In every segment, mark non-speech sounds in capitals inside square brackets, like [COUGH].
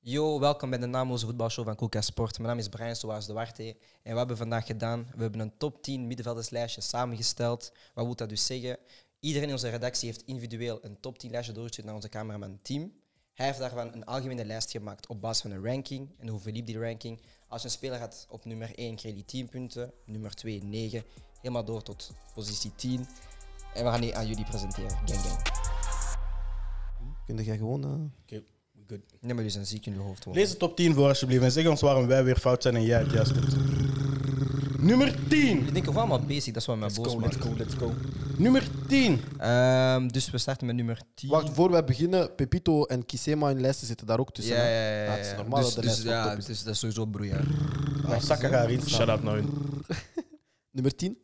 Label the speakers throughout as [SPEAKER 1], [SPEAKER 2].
[SPEAKER 1] Yo, welkom bij de naamloze voetbalshow van Koeka Sport. Mijn naam is Brian Soares de Warte en wat hebben we vandaag gedaan? We hebben een top 10 middenvelderslijstje samengesteld. Wat moet dat dus zeggen? Iedereen in onze redactie heeft individueel een top 10 lijstje doorgestuurd naar onze cameraman Team. Hij heeft daarvan een algemene lijst gemaakt op basis van een ranking en hoe verliep die ranking. Als je een speler had op nummer 1 kreeg hij 10 punten, nummer 2 9, helemaal door tot positie 10. En we gaan die aan jullie presenteren. Gang gang.
[SPEAKER 2] Kun jij gewoon. eh,
[SPEAKER 3] Oké, good.
[SPEAKER 1] Neem maar dus een ziek in je hoofd.
[SPEAKER 3] Lees de top 10 voor alsjeblieft en zeg ons waarom wij weer fout zijn en jij het juist hebt. Nummer 10.
[SPEAKER 1] Ik denk gewoon allemaal basic, dat is wat mij boos maakt.
[SPEAKER 3] go, let's go. Nummer 10.
[SPEAKER 1] Ehm, dus we starten met nummer 10.
[SPEAKER 2] Wacht, voor we beginnen, Pepito en Kisema in lijsten zitten daar ook tussen.
[SPEAKER 1] ja, ja,
[SPEAKER 2] hè?
[SPEAKER 1] ja, ja.
[SPEAKER 2] Dat is normaal
[SPEAKER 1] dus,
[SPEAKER 2] dat de
[SPEAKER 1] dus,
[SPEAKER 2] lijst ook
[SPEAKER 1] ja,
[SPEAKER 2] top is.
[SPEAKER 1] dus dat is sowieso broeier.
[SPEAKER 3] Nou, zakken gaan erin. Shut up nou.
[SPEAKER 2] Nummer 10.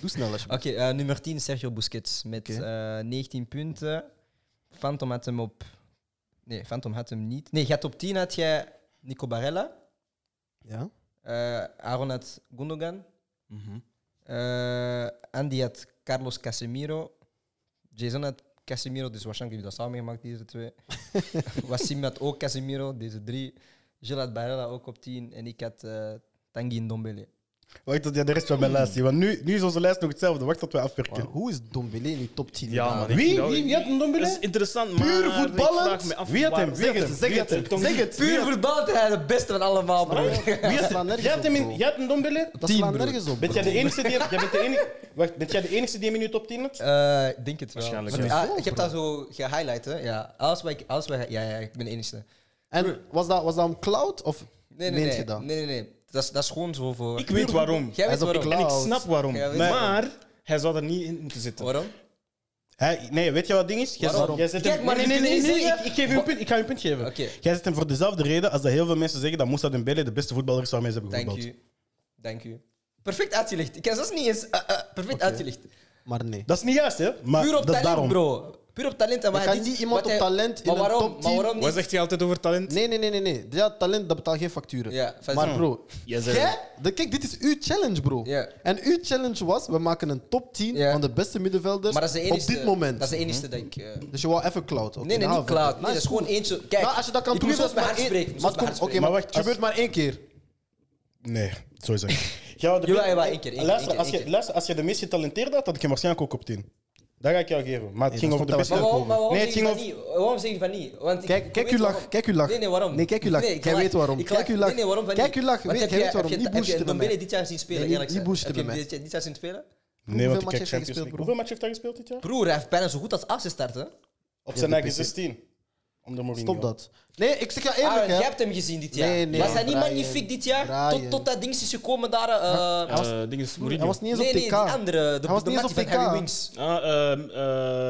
[SPEAKER 2] Doe snel alsjeblieft.
[SPEAKER 1] Oké, eh, nummer 10, Sergio Busquets. Met
[SPEAKER 2] Oké.
[SPEAKER 1] eh, 19 punten. Phantom had hem op... Nee, Phantom had hem niet. Nee, je had op 10 had jij Nico Barella.
[SPEAKER 2] Ja?
[SPEAKER 1] eh, Aaron had Gundogan.
[SPEAKER 3] Mhm.
[SPEAKER 1] eh, Andy had Carlos Casemiro. Jason had Casemiro, dus waarschijnlijk heb je dat samengemaakt, deze twee. Wassim had ook Casemiro, deze drie. Gilles had Barella ook op 10. En ik had eh Tanguy Ndombele.
[SPEAKER 3] Wacht tot jij de rest van mijn lijst ziet, want nu, nu is onze lijst nog hetzelfde. Wacht tot wij afwerken.
[SPEAKER 2] Wauw, Hoe is Dombele in die top 10?
[SPEAKER 4] Ja, man. ik
[SPEAKER 3] Wie?
[SPEAKER 4] vind
[SPEAKER 3] Wie, wie had een
[SPEAKER 4] Dat is
[SPEAKER 3] dombele?
[SPEAKER 4] interessant, maar
[SPEAKER 3] Puur
[SPEAKER 4] ik vraag
[SPEAKER 3] voetballend?
[SPEAKER 4] me af
[SPEAKER 3] Wie had hem?
[SPEAKER 4] waarom-
[SPEAKER 3] Zeg het,
[SPEAKER 2] Zeg
[SPEAKER 3] wie had
[SPEAKER 2] het,
[SPEAKER 3] hem?
[SPEAKER 2] zeg het.
[SPEAKER 1] Puur voetbal hij de beste van allemaal, bro.
[SPEAKER 2] Wie is
[SPEAKER 3] Jij had hem in- jij had een dombele?
[SPEAKER 2] Dat slaat nergens op.
[SPEAKER 3] Bent jij de enige die... jij bent de enige, wacht, bent jij de enige die hem in je top 10 had?
[SPEAKER 1] Eh, Ik denk het wel.
[SPEAKER 4] Waarschijnlijk,
[SPEAKER 1] Want,
[SPEAKER 2] ja.
[SPEAKER 1] ah, ik heb dat zo gehighlight, hè? Ja. Als wij, als wij, ja, ja, ik ben de enige.
[SPEAKER 2] En was dat, was dat om cloud of
[SPEAKER 1] Nee, nee,
[SPEAKER 2] meent
[SPEAKER 1] nee.
[SPEAKER 2] je dat?
[SPEAKER 1] Nee, nee, nee. Dat is, dat is gewoon zo voor.
[SPEAKER 3] Ik weet waarom.
[SPEAKER 1] Jij
[SPEAKER 2] Hij
[SPEAKER 1] weet
[SPEAKER 2] is op
[SPEAKER 1] waarom.
[SPEAKER 2] cloud.
[SPEAKER 3] En ik snap waarom.
[SPEAKER 1] Ja, weet je
[SPEAKER 3] Maar hij zou er niet in moeten zitten.
[SPEAKER 1] Waarom?
[SPEAKER 3] Hij- nee, weet je wat het ding is? Jij
[SPEAKER 1] Waarom?
[SPEAKER 3] zet- jij zet
[SPEAKER 1] Kijk,
[SPEAKER 3] hem-
[SPEAKER 1] maar
[SPEAKER 3] nee,
[SPEAKER 1] je
[SPEAKER 3] nee,
[SPEAKER 1] kunt
[SPEAKER 3] nee,
[SPEAKER 1] niet
[SPEAKER 3] nee, nee,
[SPEAKER 1] zeggen-
[SPEAKER 3] ik, ik geef je een punt, ik ga je een punt geven.
[SPEAKER 1] Oké.
[SPEAKER 3] Jij zet hem voor dezelfde reden als dat heel veel mensen zeggen dat Moussa Dembele de beste voetballer is waar mensen hebben
[SPEAKER 1] Dank
[SPEAKER 3] gevoetbald.
[SPEAKER 1] u. Dank u. Perfect uitgelegd. Ik heb zelfs niet eens. eh, eh, perfect uitgelegd.
[SPEAKER 2] Maar nee.
[SPEAKER 3] Dat is niet juist, hè? Maar
[SPEAKER 1] Puur op
[SPEAKER 3] dat is
[SPEAKER 1] talent,
[SPEAKER 3] daarom.
[SPEAKER 1] bro. Puur op talent. En wat
[SPEAKER 2] kan
[SPEAKER 1] hij dit-
[SPEAKER 2] niet iemand
[SPEAKER 1] wat
[SPEAKER 2] op
[SPEAKER 1] hij-
[SPEAKER 2] talent in
[SPEAKER 1] maar
[SPEAKER 2] een
[SPEAKER 1] waarom,
[SPEAKER 2] top
[SPEAKER 1] Maar
[SPEAKER 2] 10?
[SPEAKER 1] waarom
[SPEAKER 3] Wat
[SPEAKER 1] niet?
[SPEAKER 3] zegt hij altijd over talent?
[SPEAKER 2] Nee, nee, nee, nee. nee. Ja, talent, dat betaalt geen facturen.
[SPEAKER 1] Ja, van-
[SPEAKER 2] maar bro,
[SPEAKER 4] Jij zei-
[SPEAKER 2] jij, de- kijk, dit is uw challenge, bro.
[SPEAKER 1] Ja.
[SPEAKER 2] En uw challenge was, we maken een top 10
[SPEAKER 1] Ja.
[SPEAKER 2] van de beste middenvelders
[SPEAKER 1] Maar dat is de
[SPEAKER 2] op
[SPEAKER 1] enige.
[SPEAKER 2] dit moment.
[SPEAKER 1] Dat is de enige, denk ik. eh.
[SPEAKER 2] Dus je wou even cloud.
[SPEAKER 1] Nee,
[SPEAKER 2] oké,
[SPEAKER 1] nee,
[SPEAKER 2] dan gaan
[SPEAKER 1] niet
[SPEAKER 2] we verder.
[SPEAKER 1] cloud. Nee,
[SPEAKER 2] Nou,
[SPEAKER 1] dat is
[SPEAKER 2] goed.
[SPEAKER 1] gewoon eentje. Kijk,
[SPEAKER 2] Nou, als je dat kan
[SPEAKER 1] ik
[SPEAKER 2] doen,
[SPEAKER 1] moest
[SPEAKER 2] dat is
[SPEAKER 1] met
[SPEAKER 2] maar
[SPEAKER 1] hart
[SPEAKER 2] één.
[SPEAKER 1] spreken. ik moest
[SPEAKER 2] Maar
[SPEAKER 1] met hart
[SPEAKER 2] het komt- Oké,
[SPEAKER 1] spreken.
[SPEAKER 2] maar
[SPEAKER 3] Maar
[SPEAKER 2] wacht,
[SPEAKER 3] wacht,
[SPEAKER 2] het gebeurt maar één keer.
[SPEAKER 3] Nee, sowieso. Jij wou de-
[SPEAKER 1] Jawel, jawel, één keer, één keer,
[SPEAKER 3] eh, Luister,
[SPEAKER 1] één
[SPEAKER 3] als
[SPEAKER 1] keer,
[SPEAKER 3] je-
[SPEAKER 1] één
[SPEAKER 3] Luister, als je de meest getalenteerd had, had ik hem waarschijnlijk ook op 10. Dat ga ik jou geven. Maar het ging
[SPEAKER 2] dat
[SPEAKER 3] over de
[SPEAKER 2] vond
[SPEAKER 3] beste.
[SPEAKER 1] Maar waarom, maar waarom
[SPEAKER 3] Nee,
[SPEAKER 1] zeg
[SPEAKER 3] het
[SPEAKER 1] je
[SPEAKER 3] ging
[SPEAKER 1] van
[SPEAKER 3] over...
[SPEAKER 1] niet? Waarom zeg je van niet? Want ik-
[SPEAKER 2] Kijk,
[SPEAKER 1] ik
[SPEAKER 2] kijk
[SPEAKER 1] weet
[SPEAKER 2] uw lach,
[SPEAKER 1] waarom.
[SPEAKER 2] kijk uw lach.
[SPEAKER 1] Nee, nee, waarom?
[SPEAKER 2] Nee, kijk uw lach.
[SPEAKER 1] ik
[SPEAKER 2] Jij
[SPEAKER 1] lach.
[SPEAKER 2] weet waarom.
[SPEAKER 1] Ik lach.
[SPEAKER 2] Kijk uw lach.
[SPEAKER 1] Nee, nee, waarom van
[SPEAKER 2] Kijk
[SPEAKER 1] niet?
[SPEAKER 2] uw lach.
[SPEAKER 1] Want
[SPEAKER 2] Weet-
[SPEAKER 1] heb
[SPEAKER 2] jij weet
[SPEAKER 1] heb
[SPEAKER 2] waarom.
[SPEAKER 1] je-
[SPEAKER 2] Niet
[SPEAKER 1] Heb je
[SPEAKER 2] bullshitten met
[SPEAKER 1] Dombele
[SPEAKER 2] mij.
[SPEAKER 1] dit jaar zien spelen,
[SPEAKER 2] Nee,
[SPEAKER 1] eerlijk
[SPEAKER 2] niet
[SPEAKER 1] gezegd?
[SPEAKER 2] bullshitten
[SPEAKER 1] Heb je
[SPEAKER 2] met
[SPEAKER 1] hem
[SPEAKER 2] mij.
[SPEAKER 1] dit dit jaar zien spelen?
[SPEAKER 3] Nee, want ik
[SPEAKER 2] match heeft hij
[SPEAKER 3] kijk Champions
[SPEAKER 2] gespeeld,
[SPEAKER 3] League.
[SPEAKER 2] bro?
[SPEAKER 3] Hoeveel match heeft hij gespeeld dit jaar?
[SPEAKER 1] Broer, hij heeft bijna zo goed als assen starten.
[SPEAKER 3] Op
[SPEAKER 2] Ja,
[SPEAKER 3] zijn
[SPEAKER 2] de
[SPEAKER 3] eigen
[SPEAKER 2] PC.
[SPEAKER 3] 16. Om de Mourinho.
[SPEAKER 2] Stop dat. Nee, ik zeg je
[SPEAKER 1] Aaron,
[SPEAKER 2] eerlijk,
[SPEAKER 1] Ah, jij
[SPEAKER 2] hè.
[SPEAKER 1] hebt hem gezien dit jaar.
[SPEAKER 2] Nee, nee,
[SPEAKER 1] was hij niet
[SPEAKER 2] Brian.
[SPEAKER 1] magnifiek dit jaar? Tot,
[SPEAKER 2] Brian.
[SPEAKER 1] tot dat ding is gekomen daar. eh,
[SPEAKER 4] Eh, ding is Mourinho.
[SPEAKER 2] Hij was niet eens
[SPEAKER 1] nee,
[SPEAKER 2] op
[SPEAKER 1] nee,
[SPEAKER 2] TK.
[SPEAKER 1] die andere. De,
[SPEAKER 2] Hij was
[SPEAKER 1] de
[SPEAKER 2] niet
[SPEAKER 1] match
[SPEAKER 2] eens op
[SPEAKER 1] van
[SPEAKER 2] TK.
[SPEAKER 1] Harry Winks.
[SPEAKER 4] Ah, ehm, eh,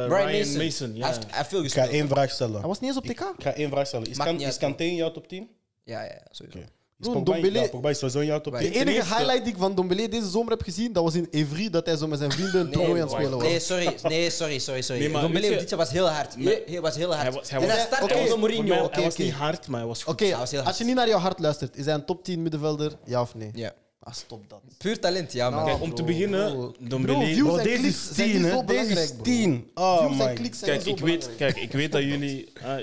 [SPEAKER 1] Brian
[SPEAKER 4] Ryan Mason.
[SPEAKER 1] Hij
[SPEAKER 4] ja.
[SPEAKER 1] heeft, hij heeft veel
[SPEAKER 3] Ik ga
[SPEAKER 1] gespeeld.
[SPEAKER 3] één vraag stellen.
[SPEAKER 2] Hij was niet eens op TK.
[SPEAKER 3] Ik ga één vraag stellen. Is,
[SPEAKER 1] Maakt
[SPEAKER 3] kan,
[SPEAKER 1] niet
[SPEAKER 3] is
[SPEAKER 1] uit.
[SPEAKER 3] Kanté in jouw top 10?
[SPEAKER 1] Ja, ja, ja, sowieso.
[SPEAKER 3] Is
[SPEAKER 2] Broer,
[SPEAKER 3] Pogba, in-
[SPEAKER 2] Dombele-
[SPEAKER 3] ja, Pogba is sowieso in jouw top
[SPEAKER 1] Wij-
[SPEAKER 3] 10.
[SPEAKER 2] De enige
[SPEAKER 4] eerste.
[SPEAKER 2] highlight die ik van Dombele deze zomer heb gezien, dat was in Evry dat hij zo met zijn vrienden een toernooi aan het spelen was.
[SPEAKER 1] Nee, sorry, nee, sorry, sorry, sorry.
[SPEAKER 4] Nee, maar
[SPEAKER 1] Dombele
[SPEAKER 4] weet je-
[SPEAKER 1] dit jaar was heel hard. Heel- Heel, was heel hard.
[SPEAKER 4] Hij was- hij
[SPEAKER 1] en
[SPEAKER 4] was-
[SPEAKER 1] hij
[SPEAKER 2] Oké,
[SPEAKER 1] startte
[SPEAKER 2] oké.
[SPEAKER 1] onder
[SPEAKER 4] Voor mij,
[SPEAKER 1] Mourinho.
[SPEAKER 4] hij was
[SPEAKER 2] oké.
[SPEAKER 4] niet hard, maar hij was goed.
[SPEAKER 2] Oké,
[SPEAKER 1] Hij was heel hard.
[SPEAKER 2] als je niet naar jouw hart luistert, is hij een top 10 middenvelder, ja of nee?
[SPEAKER 1] Ja.
[SPEAKER 2] Ah, stop dat.
[SPEAKER 1] Puur talent, ja, man.
[SPEAKER 2] Nou,
[SPEAKER 4] Om te
[SPEAKER 2] Bro,
[SPEAKER 4] beginnen,
[SPEAKER 2] bro.
[SPEAKER 4] Dombele...
[SPEAKER 2] Bro, views
[SPEAKER 3] Bro,
[SPEAKER 2] en
[SPEAKER 3] deze
[SPEAKER 2] kliks
[SPEAKER 3] is
[SPEAKER 2] zijn niet
[SPEAKER 3] 10,
[SPEAKER 2] zo
[SPEAKER 3] hè? Deze
[SPEAKER 2] belangrijk,
[SPEAKER 3] is
[SPEAKER 2] bro.
[SPEAKER 3] 10. Oh
[SPEAKER 2] Views en
[SPEAKER 3] my
[SPEAKER 2] kliks zijn
[SPEAKER 4] Kijk,
[SPEAKER 2] zo
[SPEAKER 4] ik weet,
[SPEAKER 2] belangrijk.
[SPEAKER 4] kijk, ik weet dat jullie... ah,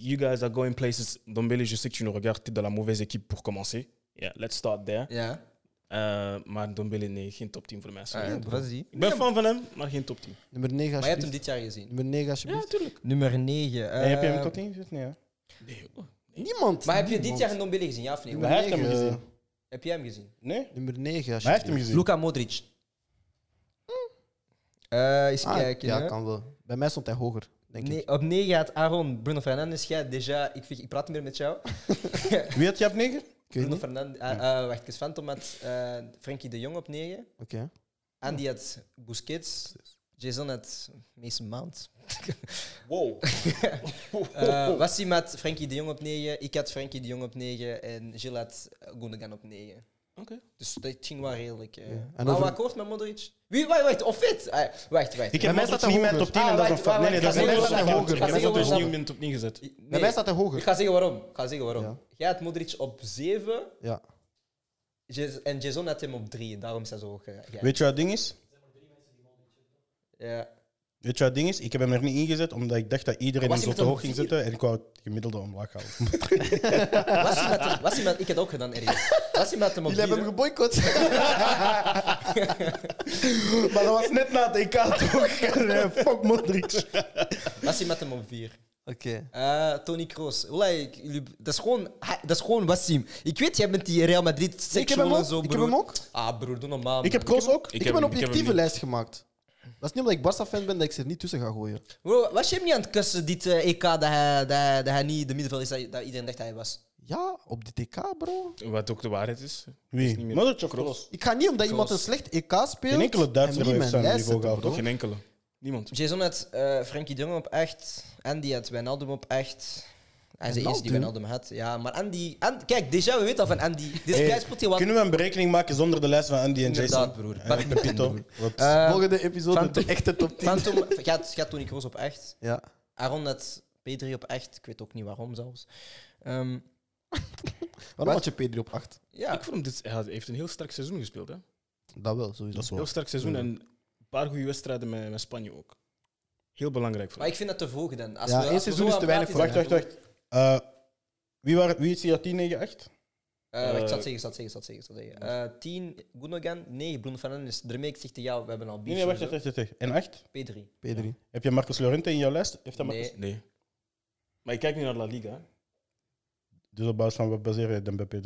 [SPEAKER 4] you guys are going places. Dombele, je sais que tu nous regardes, t'es dans la mauvaise équipe pour commencer. Yeah, let's start there.
[SPEAKER 1] Ja.
[SPEAKER 4] Eh, maar Dombele, nee, geen top 10 voor mij. sorry.
[SPEAKER 1] Ah, Wat is die?
[SPEAKER 4] Ik ben fan van hem, maar geen top 10.
[SPEAKER 2] Nummer 9
[SPEAKER 1] Maar je hebt hem
[SPEAKER 2] alsjeblieft.
[SPEAKER 1] dit jaar gezien.
[SPEAKER 2] Nummer 9 alsjeblieft.
[SPEAKER 4] natuurlijk.
[SPEAKER 1] Nummer 9.
[SPEAKER 3] En heb je
[SPEAKER 2] eh,
[SPEAKER 3] hem tot 10 Nee, hè?
[SPEAKER 4] Nee, joh.
[SPEAKER 2] Niemand.
[SPEAKER 1] Maar heb je dit
[SPEAKER 2] niemand.
[SPEAKER 1] jaar een Dombele gezien, ja of nee?
[SPEAKER 3] Maar hij heeft hem
[SPEAKER 2] negen.
[SPEAKER 3] gezien.
[SPEAKER 1] Heb jij hem gezien?
[SPEAKER 3] Nee? Maar
[SPEAKER 2] Nummer 9 alsjeblieft.
[SPEAKER 3] hij heeft hem gezien.
[SPEAKER 1] Luka Modric. Eh, eens
[SPEAKER 2] Ah,
[SPEAKER 1] kijken.
[SPEAKER 2] Ja,
[SPEAKER 1] hè.
[SPEAKER 2] kan wel. Bij mij stond hij hoger, denk ik.
[SPEAKER 1] Nee, op 9 had Aaron Bruno Fernandes. Jij, déjà, ik, vind- ik praat niet meer met jou.
[SPEAKER 3] Wie had je op 9?
[SPEAKER 2] Ik weet
[SPEAKER 1] Bruno
[SPEAKER 2] niet.
[SPEAKER 1] Fernandes. eh, eh, wacht, eens Phantom had eh, Frenkie de Jong op 9.
[SPEAKER 2] Oké.
[SPEAKER 1] Andy had Busquets. Jason had Mason [LAUGHS] Mount.
[SPEAKER 4] Wow.
[SPEAKER 1] Eh Wassim had Frenkie de Jong op 9. Ik had Frenkie de Jong op 9. En Gilles had Gundogan op 9.
[SPEAKER 4] Oké.
[SPEAKER 1] Dus dat ging wel redelijk. eh.
[SPEAKER 2] En
[SPEAKER 1] Maar
[SPEAKER 2] over-
[SPEAKER 1] wat akkoord met Modric? Wie, wacht, wacht, of fit? Ah, wacht, wacht.
[SPEAKER 3] Ik
[SPEAKER 2] Bij
[SPEAKER 3] heb
[SPEAKER 2] mij
[SPEAKER 3] hem
[SPEAKER 2] staat hij
[SPEAKER 3] niet mijn
[SPEAKER 2] hoger.
[SPEAKER 3] top 10
[SPEAKER 1] Ah,
[SPEAKER 3] en dat is een
[SPEAKER 1] wacht,
[SPEAKER 3] fout. Nee, nee,
[SPEAKER 1] wacht,
[SPEAKER 3] dat is
[SPEAKER 1] wacht,
[SPEAKER 3] niet
[SPEAKER 1] wacht,
[SPEAKER 3] mijn
[SPEAKER 1] wacht,
[SPEAKER 3] hoger.
[SPEAKER 1] wacht,
[SPEAKER 3] Bij mij
[SPEAKER 1] wacht, wacht,
[SPEAKER 3] staat hij
[SPEAKER 4] Dus
[SPEAKER 1] wacht.
[SPEAKER 3] hoger.
[SPEAKER 4] nieuw in de top 9 gezet.
[SPEAKER 2] Bij mij staat hij
[SPEAKER 1] [LAUGHS]
[SPEAKER 2] hoger.
[SPEAKER 1] Ik ga zeggen waarom. Ik ga zeggen waarom.
[SPEAKER 2] Ja.
[SPEAKER 1] Jij had Modric op 7
[SPEAKER 2] Ja.
[SPEAKER 1] Jes- en Jason had hem op 3. Daarom is hij zo hoog geraakt.
[SPEAKER 3] Weet je wat het ding is?
[SPEAKER 1] Ja.
[SPEAKER 3] Weet je wat het ding is? Ik heb hem er niet ingezet omdat ik dacht dat iedereen
[SPEAKER 1] Was
[SPEAKER 3] hem zo
[SPEAKER 1] hij met
[SPEAKER 3] te
[SPEAKER 1] een
[SPEAKER 3] hoog ging
[SPEAKER 1] vier?
[SPEAKER 3] zitten en ik wou het gemiddelde omlaag halen.
[SPEAKER 1] Was hij met hem- was hij met- ik heb het ook gedaan, Erik. Was hij met hem op
[SPEAKER 2] Jullie hebben
[SPEAKER 1] vier-
[SPEAKER 2] hem [LAUGHS]
[SPEAKER 1] [LAUGHS]
[SPEAKER 2] geboycott.
[SPEAKER 3] maar dat was net na het EK toch?
[SPEAKER 2] [LAUGHS]
[SPEAKER 3] Fuck Modric.
[SPEAKER 1] was hij met hem op vier?
[SPEAKER 2] Oké.
[SPEAKER 1] Eh, Tony Kroos. Ola, ik- jullie- dat, is gewoon, hij- dat is gewoon Wassim. Ik weet, jij bent die Real Madrid
[SPEAKER 2] Ik heb hem
[SPEAKER 1] sectional en
[SPEAKER 2] ook.
[SPEAKER 1] zo,
[SPEAKER 2] Ik
[SPEAKER 1] broer.
[SPEAKER 2] heb hem ook.
[SPEAKER 1] Ah, broer, doe normaal.
[SPEAKER 3] Ik heb
[SPEAKER 1] man.
[SPEAKER 3] Kroos ook.
[SPEAKER 2] Ik heb
[SPEAKER 4] hem-
[SPEAKER 2] een
[SPEAKER 4] hem
[SPEAKER 2] objectieve
[SPEAKER 4] niet.
[SPEAKER 2] lijst gemaakt. Dat is niet omdat ik Barca-fan ben dat ik ze er niet tussen ga gooien.
[SPEAKER 1] Bro, was je hem niet aan het kussen, dit eh, EK, dat hij, dat, hij, dat hij niet de middenveld is dat, dat iedereen dacht dat hij was?
[SPEAKER 2] Ja, op de TK, bro.
[SPEAKER 4] Wat ook de waarheid is.
[SPEAKER 3] Wie? Modric of Kroos?
[SPEAKER 2] Ik ga niet omdat iemand een slecht EK speelt.
[SPEAKER 3] Geen enkele Duitser
[SPEAKER 2] hem niet mijn
[SPEAKER 3] heeft zijn
[SPEAKER 2] lijst
[SPEAKER 3] niveau
[SPEAKER 2] zetten,
[SPEAKER 3] gehaald,
[SPEAKER 2] bro.
[SPEAKER 3] toch?
[SPEAKER 4] Geen enkele. Niemand.
[SPEAKER 1] Jason had eh, Frankie Dunham op 8. Andy had Wijnaldum op 8. Hij is de eerste die
[SPEAKER 2] Wijnaldum?
[SPEAKER 1] Wijnaldum had. Ja, maar Andy... And, kijk, déjà, we weten al van Andy. Deze
[SPEAKER 3] Hey,
[SPEAKER 1] guy speelt hier wat...
[SPEAKER 3] Kunnen we een berekening maken zonder de lijst van Andy en
[SPEAKER 1] Inderdaad,
[SPEAKER 3] Jason?
[SPEAKER 1] broer.
[SPEAKER 3] En ik ben Pito. Wat?
[SPEAKER 1] Eh,
[SPEAKER 2] Volgende episode,
[SPEAKER 1] Phantom-
[SPEAKER 2] de echte top 10.
[SPEAKER 1] Phantom [LAUGHS] gaat, gaat Tony Kroos op 8.
[SPEAKER 2] Ja.
[SPEAKER 1] Aaron had P3 op 8. Ik weet ook niet waarom zelfs. Ehm,
[SPEAKER 2] Waarom had je Pedri op 8?
[SPEAKER 1] ja,
[SPEAKER 4] Ik vond hem dit, hij had- heeft een heel sterk seizoen gespeeld. Hè?
[SPEAKER 2] Dat wel, sowieso.
[SPEAKER 3] Dat is
[SPEAKER 4] Heel
[SPEAKER 3] waar.
[SPEAKER 4] sterk seizoen en een paar goede wedstrijden met, met Spanje ook. Heel belangrijk voor
[SPEAKER 1] maar
[SPEAKER 4] hem.
[SPEAKER 1] ik vind dat te vroeg gedaan. Als
[SPEAKER 2] Ja,
[SPEAKER 1] we-
[SPEAKER 2] één
[SPEAKER 1] als we
[SPEAKER 2] seizoen
[SPEAKER 1] zo
[SPEAKER 2] is te
[SPEAKER 1] aan
[SPEAKER 2] weinig
[SPEAKER 1] praten
[SPEAKER 2] voor
[SPEAKER 3] Wacht,
[SPEAKER 1] zijn,
[SPEAKER 3] wacht, wacht. Eh, wie, waren, wie is hier 10, 9, 8?
[SPEAKER 1] Eh, ik
[SPEAKER 4] Eh,
[SPEAKER 1] zal het zeggen, ik zal het zeggen, ik zal het zeggen. Ik zal het zeggen. Eh, 10 Gundogan, 9 Bruno Fernandes. Dremeek zegt ja, we hebben al
[SPEAKER 3] Nee,
[SPEAKER 1] beef.
[SPEAKER 3] nee, wacht,
[SPEAKER 1] en
[SPEAKER 3] wacht, wacht, wacht. En 8?
[SPEAKER 1] zo. P3.
[SPEAKER 2] Pedri.
[SPEAKER 3] Heb je Marcus Llorente in jouw lijst? Heeft dat Marcus?
[SPEAKER 1] Nee,
[SPEAKER 4] Nee. Maar ik kijk niet naar La Liga. hè.
[SPEAKER 3] Dus op basis van wat baseer je dan bij P3?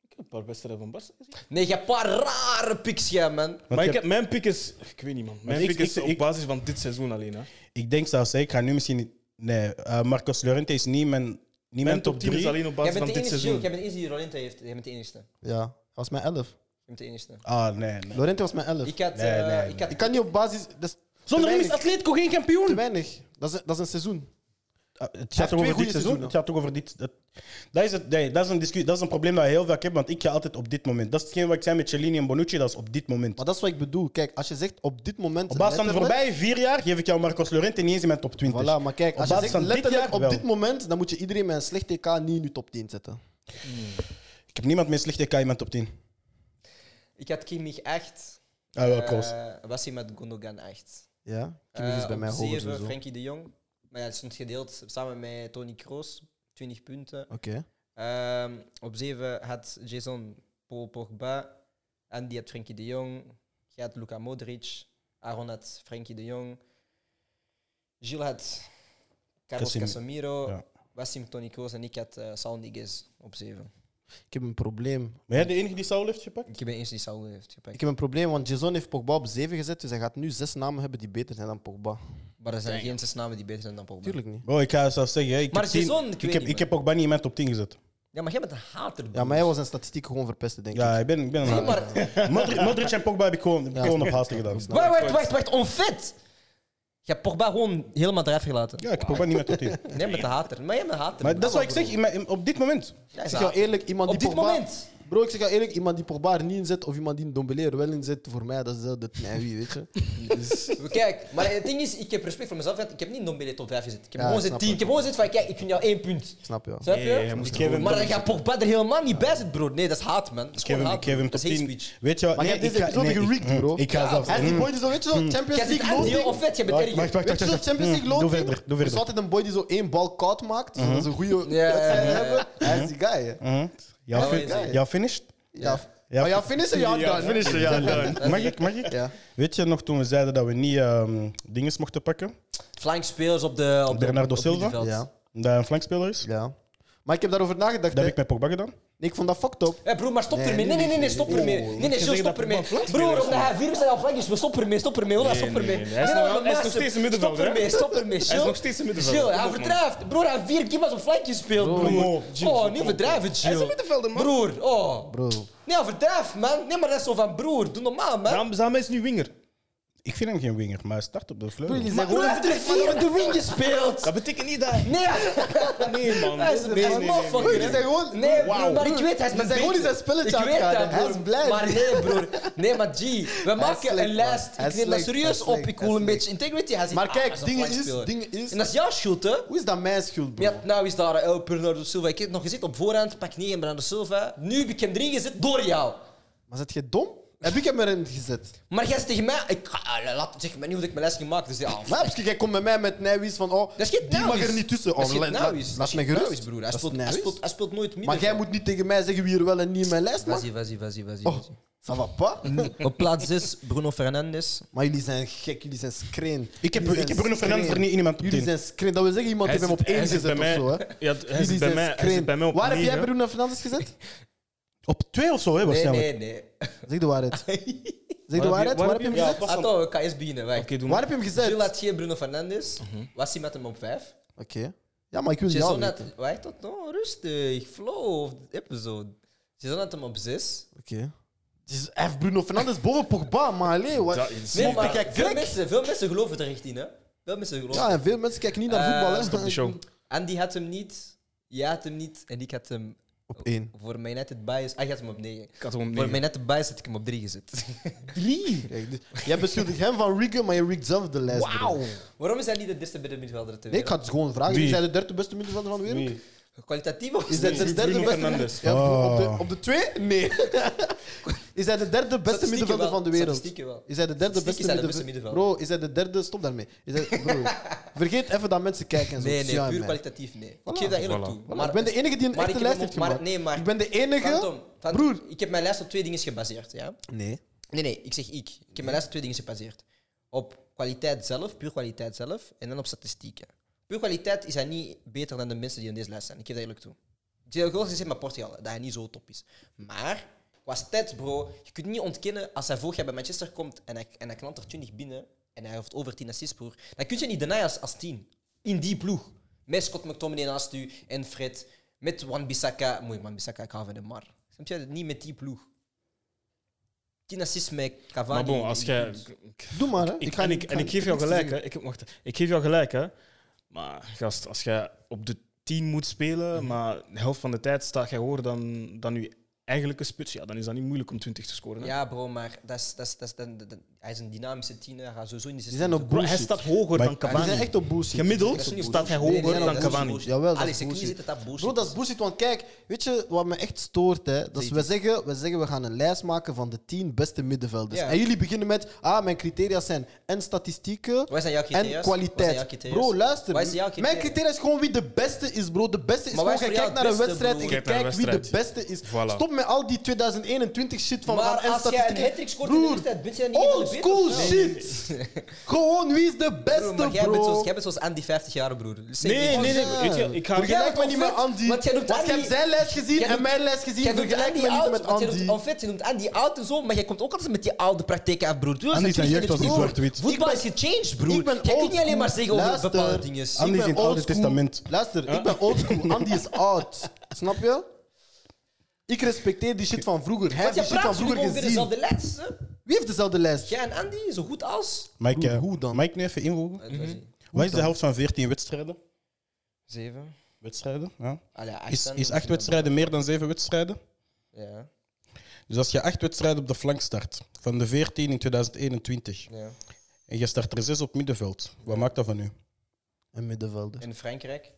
[SPEAKER 4] Ik heb een paar wedstrijden van Barca gezien.
[SPEAKER 1] nee, je hebt een paar rare piks, jij, man.
[SPEAKER 4] Maar ik
[SPEAKER 3] heb-
[SPEAKER 4] heb, mijn pick is... Ik weet niet, man. Mijn
[SPEAKER 3] ik-
[SPEAKER 4] pick is
[SPEAKER 3] ik- ik-
[SPEAKER 4] op basis van dit seizoen alleen. Hè.
[SPEAKER 3] Ik denk zelfs, hè, ik ga nu misschien niet. Nee, eh, Marcos Llorente is niet mijn, niet
[SPEAKER 4] Mijn
[SPEAKER 3] mijn
[SPEAKER 4] top 10 is
[SPEAKER 3] 3.
[SPEAKER 4] alleen op
[SPEAKER 1] Jij
[SPEAKER 4] basis
[SPEAKER 1] bent
[SPEAKER 4] van
[SPEAKER 1] de
[SPEAKER 4] dit
[SPEAKER 1] enige, Jill,
[SPEAKER 4] seizoen.
[SPEAKER 1] jij bent de enige die Rolenta heeft. Jij bent de enige. Jij
[SPEAKER 2] Ja, dat was mijn 11.
[SPEAKER 1] bent de enige.
[SPEAKER 3] Ah, nee, nee.
[SPEAKER 2] Lorente was mijn 11.
[SPEAKER 1] Ik had...
[SPEAKER 3] Nee,
[SPEAKER 1] eh,
[SPEAKER 3] nee,
[SPEAKER 1] ik had
[SPEAKER 2] Ik kan niet op basis. Dat is
[SPEAKER 3] Zonder hem is
[SPEAKER 2] weinig.
[SPEAKER 3] Atletico geen
[SPEAKER 2] te
[SPEAKER 3] kampioen.
[SPEAKER 2] weinig. Dat is, dat is een seizoen.
[SPEAKER 3] Ah, het
[SPEAKER 2] heeft
[SPEAKER 3] gaat toch
[SPEAKER 2] twee
[SPEAKER 3] over dit
[SPEAKER 2] goede
[SPEAKER 3] seizoen?
[SPEAKER 2] seizoenen.
[SPEAKER 3] Het gaat toch over dit. Dat, dat, is het, nee, dat, is een discussie, dat is een probleem dat je heel vaak hebt, want ik ga altijd op dit moment. Dat is hetgeen wat ik zei met Cellini en Bonucci, dat is op dit moment.
[SPEAKER 2] Maar dat is wat ik bedoel. Kijk, als je zegt op dit moment.
[SPEAKER 3] Op basis van de
[SPEAKER 2] letterlijk-
[SPEAKER 3] voorbije vier jaar geef ik jou Marcos Llorente niet eens in mijn top 20.
[SPEAKER 2] Voilà, maar kijk,
[SPEAKER 3] Dus Op
[SPEAKER 2] als je
[SPEAKER 3] basis
[SPEAKER 2] zegt
[SPEAKER 3] van dit
[SPEAKER 2] letterlijk
[SPEAKER 3] jaar
[SPEAKER 2] op
[SPEAKER 3] wel.
[SPEAKER 2] dit moment, dan moet je iedereen met een slecht TK niet in je top 10 zetten.
[SPEAKER 3] Ik heb niemand meer slecht EK in mijn top 10.
[SPEAKER 1] Ik had Kimmich 8.
[SPEAKER 3] Ah, wel, Kroos.
[SPEAKER 1] Eh. was hij met Gundogan 8.
[SPEAKER 2] Ja? Kimmich
[SPEAKER 1] Eh,
[SPEAKER 2] is bij mij hoger
[SPEAKER 1] zeven,
[SPEAKER 2] sowieso. Oké.
[SPEAKER 1] Frenkie de Jong. Maar ja, het stond gedeeld samen met Tony Kroos. 20 punten. Ehm, op 7 had Jason Paul Pogba. Andy had Frenkie de Jong. Jij had Luka Modric. Aaron had Frenkie de Jong. Gilles had Carlos
[SPEAKER 3] Casemiro.
[SPEAKER 1] Casemiro.
[SPEAKER 3] Ja.
[SPEAKER 1] Wassim Toni Kroos en ik had eh Saul Niguez op 7.
[SPEAKER 2] Ik heb een probleem.
[SPEAKER 3] Ben jij de enige die Saul heeft gepakt?
[SPEAKER 1] Ik ben eens die Saul heeft
[SPEAKER 2] Ik
[SPEAKER 1] gepakt.
[SPEAKER 2] heb een probleem, want Jason heeft Pogba op 7 gezet, dus hij gaat nu zes namen hebben die beter zijn dan Pogba.
[SPEAKER 1] Maar er zijn geen zes namen die beter zijn dan Pogba.
[SPEAKER 2] Tuurlijk niet.
[SPEAKER 3] Bro, Oh, ik ga zelfs zeggen, hè, ik,
[SPEAKER 1] Maar
[SPEAKER 3] heb, tien-
[SPEAKER 1] Jason, ik
[SPEAKER 3] ik,
[SPEAKER 1] weet
[SPEAKER 3] heb,
[SPEAKER 1] niet,
[SPEAKER 3] ik heb ook Bunny in mijn top 10 gezet.
[SPEAKER 1] Ja, maar jij bent een hater.
[SPEAKER 2] Ja, maar hij was zijn statistiek gewoon verpesten, denk ik.
[SPEAKER 3] Ja, ik ben, ik ben
[SPEAKER 1] broer.
[SPEAKER 3] een
[SPEAKER 1] Nee, maar
[SPEAKER 3] Modric, Modric en Pogba heb ik gewoon, heb ik
[SPEAKER 2] Ja.
[SPEAKER 3] gewoon op haast gedaan.
[SPEAKER 1] Wacht, wacht, wacht, wacht, onfit! Je hebt Pogba gewoon helemaal eraf gelaten.
[SPEAKER 3] Ja, ik heb Pogba niet in mijn top
[SPEAKER 2] [LAUGHS]
[SPEAKER 3] 10.
[SPEAKER 1] Nee, met de hater. Maar jij bent een hater.
[SPEAKER 3] Maar dat is wat ik zeg in mijn- in- op dit moment.
[SPEAKER 1] Ja,
[SPEAKER 2] Ik
[SPEAKER 1] is
[SPEAKER 2] zeg
[SPEAKER 1] een
[SPEAKER 2] jou
[SPEAKER 1] hater.
[SPEAKER 2] eerlijk, iemand
[SPEAKER 1] Op
[SPEAKER 2] die
[SPEAKER 1] dit
[SPEAKER 2] Pogba-
[SPEAKER 1] moment.
[SPEAKER 2] Bro, ik zeg jou eerlijk, iemand die Pogba er niet in zet of iemand die Dombele er wel in zet, voor mij, dat is hetzelfde. Nee, wie, [LAUGHS] weet je. Dus,
[SPEAKER 1] Kijk, maar het ding is, ik heb respect voor mezelf. want Ik heb niet Ndombele top 5 gezet. Ik heb
[SPEAKER 2] Ja,
[SPEAKER 1] gewoon
[SPEAKER 2] ik
[SPEAKER 1] gezet
[SPEAKER 2] snap
[SPEAKER 1] 10.
[SPEAKER 2] het.
[SPEAKER 1] Ik heb gewoon gezet van, kijk, ik gun jou één punt.
[SPEAKER 2] snap je?
[SPEAKER 1] Snap je?
[SPEAKER 4] Nee, hij moest
[SPEAKER 1] Ik
[SPEAKER 4] gewoon-
[SPEAKER 1] geef hem maar dan gaat Pogba er helemaal niet bij zitten, bro. Nee, dat is haat, man. Dat is
[SPEAKER 3] Ik geef
[SPEAKER 1] gewoon
[SPEAKER 3] hem,
[SPEAKER 1] haat.
[SPEAKER 3] ik geef hem
[SPEAKER 1] Dat
[SPEAKER 3] top
[SPEAKER 1] is hate
[SPEAKER 3] 10.
[SPEAKER 1] speech.
[SPEAKER 3] Weet je wat?
[SPEAKER 2] Maar jij hebt deze episode
[SPEAKER 3] ik-
[SPEAKER 2] gerigged,
[SPEAKER 3] mm,
[SPEAKER 2] bro.
[SPEAKER 3] Ik ga zelfs...
[SPEAKER 2] Hij is die
[SPEAKER 3] mm.
[SPEAKER 2] boy die zo, weet je zo, Champions
[SPEAKER 1] Jij zit
[SPEAKER 2] League
[SPEAKER 1] aan die
[SPEAKER 2] loting.
[SPEAKER 1] heel vet, je bent
[SPEAKER 3] Wacht, wacht,
[SPEAKER 1] erg.
[SPEAKER 2] Weet
[SPEAKER 3] wacht.
[SPEAKER 2] je zo, Champions League
[SPEAKER 3] Mm, Doe
[SPEAKER 2] loting.
[SPEAKER 3] verder, doe verder.
[SPEAKER 2] Er is altijd een boy die zo één bal koud maakt, zodat ze een goede
[SPEAKER 1] Ja, ja,
[SPEAKER 2] wedstrijd
[SPEAKER 1] ja, ja.
[SPEAKER 2] hebben. Hij is die guy. hè.
[SPEAKER 3] Mhm. Jouw
[SPEAKER 1] Ja,
[SPEAKER 3] fin-
[SPEAKER 1] ja,
[SPEAKER 2] ja.
[SPEAKER 3] Jouw finished?
[SPEAKER 2] Ja,
[SPEAKER 3] Ja.
[SPEAKER 2] ja. ja finisher, ja, dan.
[SPEAKER 3] ja. Mag ik? Mag ik?
[SPEAKER 2] Ja.
[SPEAKER 3] Weet je nog toen we zeiden dat we niet ehm dinges mochten pakken?
[SPEAKER 1] Flank spelers op de... Op de-
[SPEAKER 3] Bernardo
[SPEAKER 1] op
[SPEAKER 3] Silva?
[SPEAKER 1] middenveld.
[SPEAKER 2] Ja,
[SPEAKER 3] Omdat hij een flankspeler is?
[SPEAKER 2] ja. Maar ik heb daarover nagedacht.
[SPEAKER 3] Dat
[SPEAKER 2] hè.
[SPEAKER 3] heb ik met Pogba gedaan.
[SPEAKER 2] Nee, ik vond dat fucked up.
[SPEAKER 1] Hé hey Eh, broer, maar stop
[SPEAKER 2] Nee,
[SPEAKER 1] ermee. Nee,
[SPEAKER 2] nee,
[SPEAKER 1] nee, nee, nee,
[SPEAKER 2] nee,
[SPEAKER 1] stop
[SPEAKER 2] nee.
[SPEAKER 1] ermee.
[SPEAKER 2] Oh,
[SPEAKER 1] Nee,
[SPEAKER 4] ik
[SPEAKER 1] nee,
[SPEAKER 4] zou
[SPEAKER 1] Jill,
[SPEAKER 4] zeggen
[SPEAKER 1] stop
[SPEAKER 4] dat
[SPEAKER 1] ermee.
[SPEAKER 4] Pogba een
[SPEAKER 1] Broer,
[SPEAKER 4] flankspeler
[SPEAKER 1] omdat hij vier zijn al flank is, we stop ermee, stop ermee. Ola,
[SPEAKER 4] Nee,
[SPEAKER 1] stop
[SPEAKER 4] nee,
[SPEAKER 1] ermee.
[SPEAKER 4] nee, nee. Hij is
[SPEAKER 1] Nee,
[SPEAKER 4] nog-
[SPEAKER 1] maar
[SPEAKER 4] hij is nog
[SPEAKER 1] master,
[SPEAKER 4] steeds een middenvelder,
[SPEAKER 1] Stop
[SPEAKER 4] hè?
[SPEAKER 1] ermee, stop ermee.
[SPEAKER 4] Hij is
[SPEAKER 1] Jill.
[SPEAKER 4] nog steeds een middenvelder.
[SPEAKER 1] Jill, hij
[SPEAKER 4] Kom op, man.
[SPEAKER 1] verdrijft. Broer, hij heeft vier keemas op flankje gespeeld, broer. Oh, nu verdrijven, Jill. Hij is een middenvelder, man. Broer, oh.
[SPEAKER 2] Bro,
[SPEAKER 1] Nee, hij verdrijft, man. Nee, maar dat is zo van broer. Doe normaal, man.
[SPEAKER 4] Daarom- daarom is hij nu winger.
[SPEAKER 3] Ik vind hem geen winger, maar hij start op de vleugel.
[SPEAKER 2] jullie
[SPEAKER 1] Maar
[SPEAKER 2] zijn
[SPEAKER 1] broer,
[SPEAKER 2] gewoon
[SPEAKER 1] hij heeft er vier op de wing gespeeld.
[SPEAKER 4] Dat betekent niet dat...
[SPEAKER 1] Nee,
[SPEAKER 4] Nee, man.
[SPEAKER 1] hij is een
[SPEAKER 4] Nee,
[SPEAKER 1] beetje
[SPEAKER 4] nee, nee.
[SPEAKER 1] motherfucker.
[SPEAKER 2] Broer,
[SPEAKER 1] hè.
[SPEAKER 2] die zijn gewoon-
[SPEAKER 1] Nee,
[SPEAKER 2] Wauw.
[SPEAKER 1] broer, maar ik weet, hij is
[SPEAKER 2] Die zijn gewoon
[SPEAKER 1] bezig.
[SPEAKER 2] in zijn spelletje
[SPEAKER 1] Ik
[SPEAKER 2] aan het
[SPEAKER 1] weet
[SPEAKER 2] gaan,
[SPEAKER 1] dat,
[SPEAKER 2] hè. Hij
[SPEAKER 1] broer.
[SPEAKER 2] is blij.
[SPEAKER 1] Maar nee, broer. Nee, maar G, we maken
[SPEAKER 2] slecht,
[SPEAKER 1] een
[SPEAKER 2] man.
[SPEAKER 1] lijst.
[SPEAKER 2] Hij
[SPEAKER 1] Ik
[SPEAKER 2] is
[SPEAKER 1] neem dat
[SPEAKER 2] slecht,
[SPEAKER 1] serieus
[SPEAKER 2] hij is
[SPEAKER 1] op. Ik
[SPEAKER 2] slecht,
[SPEAKER 1] wil
[SPEAKER 2] hij
[SPEAKER 1] een
[SPEAKER 2] is
[SPEAKER 1] beetje integrity. Hij zegt,
[SPEAKER 2] Maar
[SPEAKER 1] ah,
[SPEAKER 2] kijk,
[SPEAKER 1] hij een
[SPEAKER 2] ding is-
[SPEAKER 1] flankspeler.
[SPEAKER 2] ding is-
[SPEAKER 1] En dat is jouw schuld, hè?
[SPEAKER 2] hoe is dat mijn schuld, bro?
[SPEAKER 1] Ja, nou is daar El Bernardo Silva. Ik heb het nog gezien op voorhand. Pak 9 Bernardo Silva. Nu heb ik hem erin gezet door jou.
[SPEAKER 2] Maar zit je dom? Heb ik hem erin gezet?
[SPEAKER 1] Maar jij is tegen mij. Ik, ah, laat, zeg maar niet hoe ik mijn les niet maak. Dus ja, ah,
[SPEAKER 2] Maar jij komt met mij met Nijwies van, oh,
[SPEAKER 1] Dat is geen
[SPEAKER 2] die mag
[SPEAKER 1] nauwies.
[SPEAKER 2] er niet tussen.
[SPEAKER 1] Dat is
[SPEAKER 2] Oh,
[SPEAKER 1] geen
[SPEAKER 2] laat- laat-
[SPEAKER 1] nauwies. Dat
[SPEAKER 2] Laat
[SPEAKER 1] is
[SPEAKER 2] me
[SPEAKER 1] geen
[SPEAKER 2] gerust.
[SPEAKER 1] nauwies, broer. Hij
[SPEAKER 2] Dat is
[SPEAKER 1] speelt, hij,
[SPEAKER 2] nauwies.
[SPEAKER 1] speelt, hij speelt nooit minder.
[SPEAKER 2] Maar jij moet niet tegen mij zeggen wie er wel en niet in mijn lijst mag.
[SPEAKER 1] Vas-y, vas-y, vas-y, vas-y.
[SPEAKER 2] Oh, ça va pas?
[SPEAKER 1] vas-y. Op plaats 6, Bruno Fernandes.
[SPEAKER 2] Maar jullie zijn gek, jullie zijn screen.
[SPEAKER 3] Ik heb- ik heb Bruno Fernandes er niet in mijn top
[SPEAKER 2] Jullie
[SPEAKER 3] 10.
[SPEAKER 2] zijn screen. Dat wil zeggen, iemand
[SPEAKER 4] Hij
[SPEAKER 2] heeft hem op
[SPEAKER 4] zit- hij
[SPEAKER 2] één
[SPEAKER 4] zit
[SPEAKER 2] gezet of
[SPEAKER 4] bij
[SPEAKER 2] zo.
[SPEAKER 4] mij-
[SPEAKER 2] Hè?
[SPEAKER 4] Ja, hij
[SPEAKER 2] Jullie
[SPEAKER 4] zit bij
[SPEAKER 2] zijn
[SPEAKER 4] mij- hij
[SPEAKER 2] screen.
[SPEAKER 4] zit bij mij op
[SPEAKER 2] Waar heb
[SPEAKER 4] negen.
[SPEAKER 2] jij Bruno Fernandes gezet?
[SPEAKER 3] Op twee of zo, hè,
[SPEAKER 1] Nee,
[SPEAKER 3] waarschijnlijk.
[SPEAKER 1] nee, nee.
[SPEAKER 2] Zeg de waarheid. Zeg
[SPEAKER 4] [LAUGHS]
[SPEAKER 2] de
[SPEAKER 4] je-
[SPEAKER 2] waarheid, waar heb je hem
[SPEAKER 4] ja,
[SPEAKER 2] gezet?
[SPEAKER 4] pas op.
[SPEAKER 1] Atto, ik ga eerst beginnen. Wacht.
[SPEAKER 4] Oké, doe
[SPEAKER 2] Waar
[SPEAKER 4] maar.
[SPEAKER 2] heb je hem gezet?
[SPEAKER 1] Gilles
[SPEAKER 2] Oké.
[SPEAKER 1] had geen Bruno Fernandes.
[SPEAKER 4] Mhm.
[SPEAKER 1] Was hij met hem op 5?
[SPEAKER 2] Ja, maar ik wil jou
[SPEAKER 1] Jason
[SPEAKER 2] weten.
[SPEAKER 1] had. Wacht tot nou, rustig. Flow of de episode. Jason had hem op 6.
[SPEAKER 2] Oké. Het is- Hij heeft Bruno Fernandes boven Pogba, maar alleen. Wat...
[SPEAKER 4] Dat is-
[SPEAKER 1] Nee, maar
[SPEAKER 2] kijk,
[SPEAKER 1] veel
[SPEAKER 2] gek.
[SPEAKER 1] mensen, veel mensen geloven er echt in, hè? Veel mensen geloven.
[SPEAKER 2] Ja, en veel mensen kijken niet naar
[SPEAKER 1] Eh,
[SPEAKER 2] voetbal. hè. [LAUGHS]
[SPEAKER 4] Stop de show.
[SPEAKER 1] Andy had hem niet. Jij had hem niet. En ik had hem
[SPEAKER 2] Op één.
[SPEAKER 1] voor mijn United bias. Hij had hem op 9.
[SPEAKER 4] Ik had hem op
[SPEAKER 1] Voor
[SPEAKER 4] negen.
[SPEAKER 1] mijn United bias had ik hem op 3 [LAUGHS] gezet.
[SPEAKER 2] Drie. Kijk, dus- jij beschuldigt hem van Riggen, maar je rigged zelf de lijst. bro.
[SPEAKER 1] Waarom is hij niet de beste bij de middenvelder ter
[SPEAKER 2] Nee, ik
[SPEAKER 1] wereld?
[SPEAKER 2] ga het gewoon vragen.
[SPEAKER 4] Wie?
[SPEAKER 2] Is hij de derde beste middenvelder van de wereld?
[SPEAKER 4] Wie?
[SPEAKER 1] Kwalitatief of
[SPEAKER 2] Is
[SPEAKER 1] [LAUGHS]
[SPEAKER 2] hij de
[SPEAKER 1] niet?
[SPEAKER 2] derde
[SPEAKER 4] Bruno
[SPEAKER 2] beste
[SPEAKER 4] Fernandes.
[SPEAKER 2] Ja, op,
[SPEAKER 4] Oh.
[SPEAKER 2] de, op de twee? Nee. [LAUGHS] is hij de derde beste
[SPEAKER 1] Statistieken
[SPEAKER 2] middenvelder
[SPEAKER 1] wel,
[SPEAKER 2] van de wereld?
[SPEAKER 1] statistieken wel.
[SPEAKER 2] Is hij de derde beste
[SPEAKER 1] Statistieken zijn de beste
[SPEAKER 2] middenvelder?
[SPEAKER 1] middenvelder.
[SPEAKER 2] Bro, is hij de derde? Stop daarmee. Is hij,
[SPEAKER 1] [LAUGHS]
[SPEAKER 2] bro, vergeet even dat mensen kijken en zo.
[SPEAKER 1] Nee,
[SPEAKER 2] Ja,
[SPEAKER 1] nee, puur
[SPEAKER 2] man.
[SPEAKER 1] kwalitatief, nee. Ik geef dat eerlijk
[SPEAKER 4] Voilà.
[SPEAKER 1] toe.
[SPEAKER 2] Voilà, ik ben de enige die een
[SPEAKER 1] maar
[SPEAKER 2] echte
[SPEAKER 1] ik heb
[SPEAKER 2] lijst
[SPEAKER 1] hem
[SPEAKER 2] heeft
[SPEAKER 1] op- maar-
[SPEAKER 2] gemaakt.
[SPEAKER 1] nee, maar-
[SPEAKER 2] ik ben de enige.
[SPEAKER 1] Phantom, Phantom,
[SPEAKER 2] Broer.
[SPEAKER 1] Ik heb mijn lijst op twee dingen gebaseerd, ja?
[SPEAKER 2] Nee.
[SPEAKER 1] Nee, nee, ik zeg ik. Ik heb mijn lijst op twee dingen gebaseerd. Op kwaliteit zelf, puur kwaliteit zelf, en dan op statistieken. Puur kwaliteit is hij niet beter dan de mensen die in deze lijst zijn. Ik geef dat eerlijk toe. Ik zeg ook wel gezegd met Portugal, dat hij niet zo top is. Maar, qua stats, bro, je kunt niet ontkennen als hij vorig jaar bij Manchester komt en hij, en hij knalt er 20 binnen en hij heeft over 10 assists, broer. Dan kun je niet denaaien als, als 10. In die ploeg. Met Scott McTominay naast u en Fred. Met Wan-Bissaka. Mooi, Wan-Bissaka, ik hou van hem, maar... Snap je? Niet met die ploeg. 10 assists met Cavani.
[SPEAKER 4] Maar bon, als jij...
[SPEAKER 2] Doe maar, hè.
[SPEAKER 4] Ik,
[SPEAKER 2] ga
[SPEAKER 4] en,
[SPEAKER 2] niet-
[SPEAKER 4] ik, en ik
[SPEAKER 2] niet-
[SPEAKER 4] geef jou
[SPEAKER 2] niks te
[SPEAKER 4] gelijk,
[SPEAKER 2] zeggen.
[SPEAKER 4] hè. Ik, wacht, ik geef jou gelijk, hè. Maar gast, als jij op de 10 moet
[SPEAKER 2] Mhm.
[SPEAKER 4] spelen, maar de helft van de tijd staat jij hoger dan, dan je eigenlijke spits, ja, dan is dat niet moeilijk om 20 te scoren. Hè.
[SPEAKER 1] Ja, bro, maar dat is, dat is, dat is, dan- dan- dan- hij is een dynamische tiener. Hij gaat sowieso in die
[SPEAKER 2] Die zijn op
[SPEAKER 4] Bro, hij
[SPEAKER 2] bullshit.
[SPEAKER 4] staat hoger
[SPEAKER 3] Maar
[SPEAKER 4] dan
[SPEAKER 2] Die
[SPEAKER 4] Cavani.
[SPEAKER 2] zijn echt op bullshit.
[SPEAKER 4] Gemiddeld
[SPEAKER 1] niet
[SPEAKER 4] staat hij
[SPEAKER 1] Nee, nee,
[SPEAKER 4] hoger
[SPEAKER 1] nee,
[SPEAKER 4] dan
[SPEAKER 1] dat is
[SPEAKER 4] Cavani.
[SPEAKER 1] bullshit.
[SPEAKER 2] Jawel, dat
[SPEAKER 1] Allee,
[SPEAKER 2] is
[SPEAKER 1] zeg, ik niet
[SPEAKER 2] bullshit.
[SPEAKER 1] zitten, dat is bullshit.
[SPEAKER 2] Bro, dat is bullshit, want kijk, weet je wat me echt stoort? Hè? Dat is, we zeggen, we zeggen we gaan een lijst maken van de 10 beste middenvelders.
[SPEAKER 1] Ja.
[SPEAKER 2] En jullie beginnen met, ah, mijn criteria zijn en statistieken
[SPEAKER 1] Wat zijn jouw criteria's?
[SPEAKER 2] en
[SPEAKER 1] Wat zijn jouw
[SPEAKER 2] kwaliteit.
[SPEAKER 1] criteria's?
[SPEAKER 2] Bro, luister.
[SPEAKER 1] Wat is jouw criteria?
[SPEAKER 2] Mijn criteria is gewoon wie de beste is, bro. De beste is
[SPEAKER 1] Maar wat
[SPEAKER 2] gewoon,
[SPEAKER 1] is
[SPEAKER 2] je
[SPEAKER 1] voor jou
[SPEAKER 2] kijkt naar een
[SPEAKER 1] het beste,
[SPEAKER 2] wedstrijd en
[SPEAKER 1] bro?
[SPEAKER 2] je
[SPEAKER 4] Kijk naar
[SPEAKER 2] kijkt
[SPEAKER 4] een
[SPEAKER 2] wie de
[SPEAKER 4] wedstrijd.
[SPEAKER 2] beste is.
[SPEAKER 4] Voilà.
[SPEAKER 2] Stop met al die 2021 shit van
[SPEAKER 1] maar
[SPEAKER 2] van en
[SPEAKER 1] als jij een
[SPEAKER 2] statistieken.
[SPEAKER 1] hat-trick scoort in de
[SPEAKER 2] Broer,
[SPEAKER 1] wedstrijd, ben jij niet
[SPEAKER 2] Old
[SPEAKER 1] van de beter
[SPEAKER 2] school
[SPEAKER 1] of zo?
[SPEAKER 2] shit! Gewoon wie is de
[SPEAKER 1] Bro,
[SPEAKER 2] beste,
[SPEAKER 1] maar jij bent,
[SPEAKER 2] bro.
[SPEAKER 1] zoals, jij bent zoals Andy 50 jaar, broer. Dus zeg
[SPEAKER 4] Nee,
[SPEAKER 1] niet-
[SPEAKER 4] nee, nee.
[SPEAKER 2] Ja.
[SPEAKER 4] Weet je, ik ga...
[SPEAKER 1] Jij
[SPEAKER 2] Vergelijk me
[SPEAKER 1] noemt
[SPEAKER 2] niet met
[SPEAKER 1] Andy-
[SPEAKER 2] Andy.
[SPEAKER 1] want jij noemt
[SPEAKER 2] ik heb
[SPEAKER 1] Andy-
[SPEAKER 2] zijn lijst gezien
[SPEAKER 1] jij
[SPEAKER 2] en
[SPEAKER 1] noemt-
[SPEAKER 2] mijn lijst gezien.
[SPEAKER 1] Jij noemt
[SPEAKER 2] Vergelijk
[SPEAKER 1] Andy
[SPEAKER 2] me niet
[SPEAKER 1] oud,
[SPEAKER 2] met
[SPEAKER 1] want jij
[SPEAKER 2] Andy.
[SPEAKER 1] noemt- en vet, je noemt Andy oud en zo, maar jij komt ook altijd met die oude praktijk af, broer. Doe
[SPEAKER 3] Andy
[SPEAKER 1] eens
[SPEAKER 3] zijn
[SPEAKER 1] een
[SPEAKER 3] jeugd was niet
[SPEAKER 1] broer.
[SPEAKER 3] zwart-wit.
[SPEAKER 1] Voetbal
[SPEAKER 2] Ik
[SPEAKER 1] is gechanged, broer.
[SPEAKER 2] Ik ben
[SPEAKER 1] Jij kunt niet alleen maar zeggen over
[SPEAKER 2] oldschool.
[SPEAKER 1] bepaalde
[SPEAKER 2] Luister,
[SPEAKER 1] dingen.
[SPEAKER 3] Andy
[SPEAKER 2] ik
[SPEAKER 3] is
[SPEAKER 2] ben
[SPEAKER 3] in het Oude
[SPEAKER 2] oldschool.
[SPEAKER 3] Testament.
[SPEAKER 2] Luister, ik ben oldschool. Andy
[SPEAKER 4] [LAUGHS]
[SPEAKER 2] is oud. Snap je? Ik respecteer die shit van vroeger. Hij
[SPEAKER 1] Want
[SPEAKER 2] heeft
[SPEAKER 1] jij
[SPEAKER 2] die shit
[SPEAKER 1] praat
[SPEAKER 2] van
[SPEAKER 1] jullie
[SPEAKER 2] vroeger
[SPEAKER 1] gewoon weer
[SPEAKER 2] gezien.
[SPEAKER 1] dezelfde les. hè?
[SPEAKER 2] Wie heeft dezelfde lijst?
[SPEAKER 1] Jij en Andy, zo goed als...
[SPEAKER 3] Mike,
[SPEAKER 2] Hoe-
[SPEAKER 3] eh,
[SPEAKER 2] hoe dan?
[SPEAKER 3] Mag ik nu even invoegen?
[SPEAKER 1] Zeven.
[SPEAKER 3] Wat is de helft van 14 wedstrijden? Wedstrijden? Ja.
[SPEAKER 1] Allee, acht
[SPEAKER 3] Is,
[SPEAKER 1] dan,
[SPEAKER 3] is
[SPEAKER 1] dan-
[SPEAKER 3] acht wedstrijden meer dan zeven wedstrijden?
[SPEAKER 1] Ja,
[SPEAKER 3] Dus als je acht wedstrijden op de flank start, van de 14 in 2021,
[SPEAKER 1] ja.
[SPEAKER 3] en je start er zes op middenveld, wat maakt dat van u?
[SPEAKER 2] Een middenvelder.
[SPEAKER 1] In Frankrijk.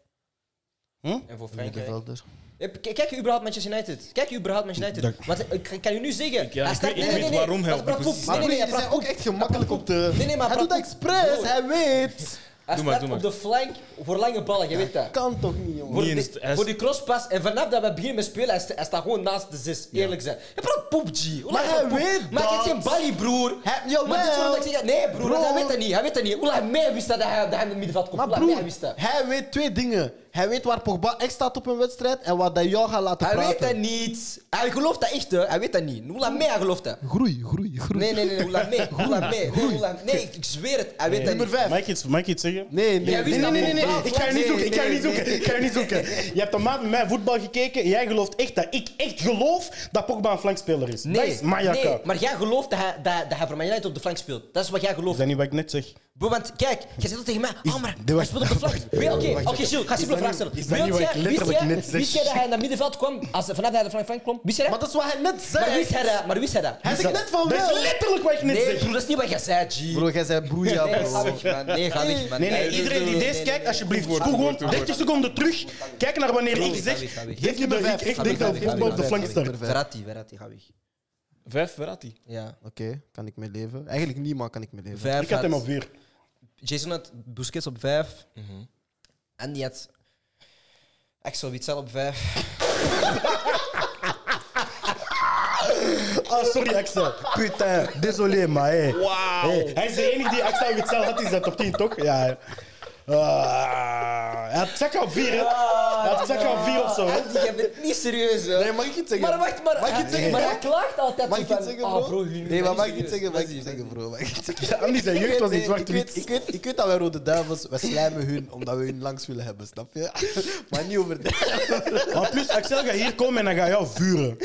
[SPEAKER 3] Hm?
[SPEAKER 1] En voor
[SPEAKER 2] Een
[SPEAKER 1] Frankrijk.
[SPEAKER 2] middenvelder.
[SPEAKER 1] Eh, k- Kijk je überhaupt Manchester United. Kijk je überhaupt Manchester United.
[SPEAKER 3] Dat-
[SPEAKER 1] Want eh, ik kan je nu zeggen.
[SPEAKER 4] ja,
[SPEAKER 1] hij
[SPEAKER 4] ik
[SPEAKER 1] staat-
[SPEAKER 4] weet- ik weet waarom hij
[SPEAKER 1] dat
[SPEAKER 4] op die
[SPEAKER 1] praat poep.
[SPEAKER 4] positie
[SPEAKER 1] Nee, nee,
[SPEAKER 2] Maar nee,
[SPEAKER 1] nee,
[SPEAKER 2] die
[SPEAKER 1] hij
[SPEAKER 2] zijn
[SPEAKER 1] praat
[SPEAKER 2] ook
[SPEAKER 1] poep.
[SPEAKER 2] echt gemakkelijk op de...
[SPEAKER 1] Nee, nee, maar
[SPEAKER 2] hij doet dat
[SPEAKER 1] praat-
[SPEAKER 2] expres,
[SPEAKER 1] Bro.
[SPEAKER 2] hij weet.
[SPEAKER 1] Hij
[SPEAKER 4] Doe maar,
[SPEAKER 1] staat
[SPEAKER 4] doe maar.
[SPEAKER 1] op de flank voor lange ballen, je weet dat.
[SPEAKER 2] Kan toch niet,
[SPEAKER 1] Voor,
[SPEAKER 2] jongen.
[SPEAKER 4] Niet eens-
[SPEAKER 1] de,
[SPEAKER 4] hij is-
[SPEAKER 1] voor die crosspas en vanaf dat we beginnen met spelen, hij, sta- hij staat gewoon naast de zes. Eerlijk zijn. Hij praat poep, G. Hoe
[SPEAKER 2] Maar
[SPEAKER 1] laat
[SPEAKER 2] hij
[SPEAKER 1] praat poep?
[SPEAKER 2] weet
[SPEAKER 1] Maar hij
[SPEAKER 2] dat.
[SPEAKER 1] heeft geen balie, broer.
[SPEAKER 2] Hij-
[SPEAKER 1] Maar dit is waarom
[SPEAKER 2] jawel.
[SPEAKER 1] dat ik zeg, nee, broer,
[SPEAKER 2] Bro.
[SPEAKER 1] want hij weet dat niet. Hij weet dat niet. Hoe laat mij wist dat hij, dat hij in het middenveld komt.
[SPEAKER 2] Maar
[SPEAKER 1] Hoe laat mij
[SPEAKER 2] broer,
[SPEAKER 1] wist dat.
[SPEAKER 2] hij weet twee dingen. Hij weet waar Pogba echt staat op een wedstrijd en wat hij jou gaat laten
[SPEAKER 1] Hij weet
[SPEAKER 2] praten.
[SPEAKER 1] dat niet. Hij gelooft dat echt, hè. Hij weet dat niet. Hoe laat mij hij gelooft dat.
[SPEAKER 2] Groei, groei, groei.
[SPEAKER 1] Nee, nee, nee, hoe laat mee? Hoe laat mee? Nee, hoe laat- nee, ik ik zweer het. Hij weet dat
[SPEAKER 2] Nummer
[SPEAKER 1] niet.
[SPEAKER 2] vijf.
[SPEAKER 3] Mag ik iets, mag ik iets zeggen?
[SPEAKER 2] Nee, nee,
[SPEAKER 1] Jij wist
[SPEAKER 2] nee,
[SPEAKER 1] dat
[SPEAKER 2] nee,
[SPEAKER 1] Pogba-
[SPEAKER 2] nee, nee, nee.
[SPEAKER 3] Ik ga je niet
[SPEAKER 1] Nee,
[SPEAKER 3] zoeken, ik ga je niet
[SPEAKER 1] nee,
[SPEAKER 3] zoeken, ik ga je niet zoeken. [LAUGHS] Je hebt een maand met mij voetbal gekeken en jij gelooft echt dat ik echt geloof dat Pogba een flankspeler is. dat is Mayaka.
[SPEAKER 1] nee, maar jij gelooft dat hij, dat, dat hij voor Man United op de flank speelt. Dat is wat jij
[SPEAKER 3] Is
[SPEAKER 1] gelooft.
[SPEAKER 3] dat niet wat ik net zeg?
[SPEAKER 1] Bro, want kijk, jij zegt dat tegen mij. Oh, maar
[SPEAKER 2] de-
[SPEAKER 1] hij speelt op de
[SPEAKER 2] [LAUGHS]
[SPEAKER 1] flank. Weet- Oké, oké, Gilles, ga simpele
[SPEAKER 2] dat
[SPEAKER 1] vraag stellen.
[SPEAKER 2] niet- is dat niet
[SPEAKER 1] Weet
[SPEAKER 2] wat ik
[SPEAKER 1] jij-
[SPEAKER 2] letterlijk
[SPEAKER 1] wist jij-
[SPEAKER 2] net zeg?
[SPEAKER 1] Wist jij dat hij naar het middenveld kwam, als, vanaf dat hij de flank van kwam? Wist jij
[SPEAKER 2] Maar
[SPEAKER 1] dat?
[SPEAKER 2] dat is wat hij net zei.
[SPEAKER 1] Maar wist hij dat? Maar wist hij dat?
[SPEAKER 2] Hij zegt net van
[SPEAKER 3] Dat
[SPEAKER 2] wel.
[SPEAKER 3] is letterlijk wat ik net
[SPEAKER 1] Nee,
[SPEAKER 3] zeg.
[SPEAKER 1] broer, dat is niet wat jij zei, G.
[SPEAKER 2] Bro, jij zei broeia,
[SPEAKER 1] Nee, ga
[SPEAKER 2] bro.
[SPEAKER 1] weg, man. Nee, ga weg, man.
[SPEAKER 3] Nee, nee,
[SPEAKER 1] doe-
[SPEAKER 3] iedereen
[SPEAKER 1] doe-
[SPEAKER 3] die
[SPEAKER 1] nee,
[SPEAKER 3] deze
[SPEAKER 1] nee,
[SPEAKER 3] kijkt,
[SPEAKER 1] nee.
[SPEAKER 3] alsjeblieft, spoel gewoon 30 seconden terug. Kijk naar wanneer ik
[SPEAKER 1] ga
[SPEAKER 3] zeg.
[SPEAKER 1] weg, ga weg.
[SPEAKER 3] Geef je
[SPEAKER 2] Nummer
[SPEAKER 3] dat ik
[SPEAKER 2] vijf.
[SPEAKER 3] echt denk dat
[SPEAKER 1] Ga weg, ga
[SPEAKER 3] voetbal
[SPEAKER 1] weg,
[SPEAKER 3] op de
[SPEAKER 1] ga
[SPEAKER 3] flank
[SPEAKER 1] weg.
[SPEAKER 3] start.
[SPEAKER 2] Nummer vijf.
[SPEAKER 1] Verratti, Verratti, ga weg.
[SPEAKER 4] Vijf Verratti.
[SPEAKER 1] Ja.
[SPEAKER 2] Oké, kan ik mee leven? Eigenlijk niemand kan ik mee leven.
[SPEAKER 1] Vijf
[SPEAKER 3] Ik had hem
[SPEAKER 1] had-
[SPEAKER 3] op vier.
[SPEAKER 1] Jason had Busquets op vijf. En die had Axel Witsel op vijf.
[SPEAKER 3] Ah, sorry Axel. Putain, désolé, maar hey. Hey, Hij is de enige die Axel Witzel had in zijn top 10, toch? Ja. ja. Ah, hij had Saka op 4, hè? Hij had Saka op 4 of zo, hè?
[SPEAKER 1] Je bent niet serieus, hè?
[SPEAKER 2] Nee, mag ik iets zeggen?
[SPEAKER 1] Maar wacht, maar,
[SPEAKER 2] Mag
[SPEAKER 3] Ah,
[SPEAKER 2] ik iets zeggen,
[SPEAKER 1] maar
[SPEAKER 2] bro?
[SPEAKER 1] hij klaagt altijd
[SPEAKER 2] Mag
[SPEAKER 1] zo
[SPEAKER 2] ik iets
[SPEAKER 1] van,
[SPEAKER 2] zeggen,
[SPEAKER 1] "Ah,
[SPEAKER 2] bro?
[SPEAKER 1] jullie
[SPEAKER 2] Nee, maar
[SPEAKER 1] zijn
[SPEAKER 2] mag ik
[SPEAKER 1] niet
[SPEAKER 2] iets zeggen?
[SPEAKER 1] serieus."
[SPEAKER 2] Mag ik iets zeggen, bro? Mag ik iets
[SPEAKER 3] [LAUGHS]
[SPEAKER 2] zeggen?
[SPEAKER 3] Andy zijn jeugd was in
[SPEAKER 2] Nee, ik,
[SPEAKER 3] zwart-wit.
[SPEAKER 2] weet, ik, weet, ik weet dat wij Rode Duivels, wij slijmen hun omdat we hun langs willen hebben, snap je? [LAUGHS] Maar niet over dat.
[SPEAKER 3] Maar plus, Axel gaat hier komen en dan gaat jou vuren.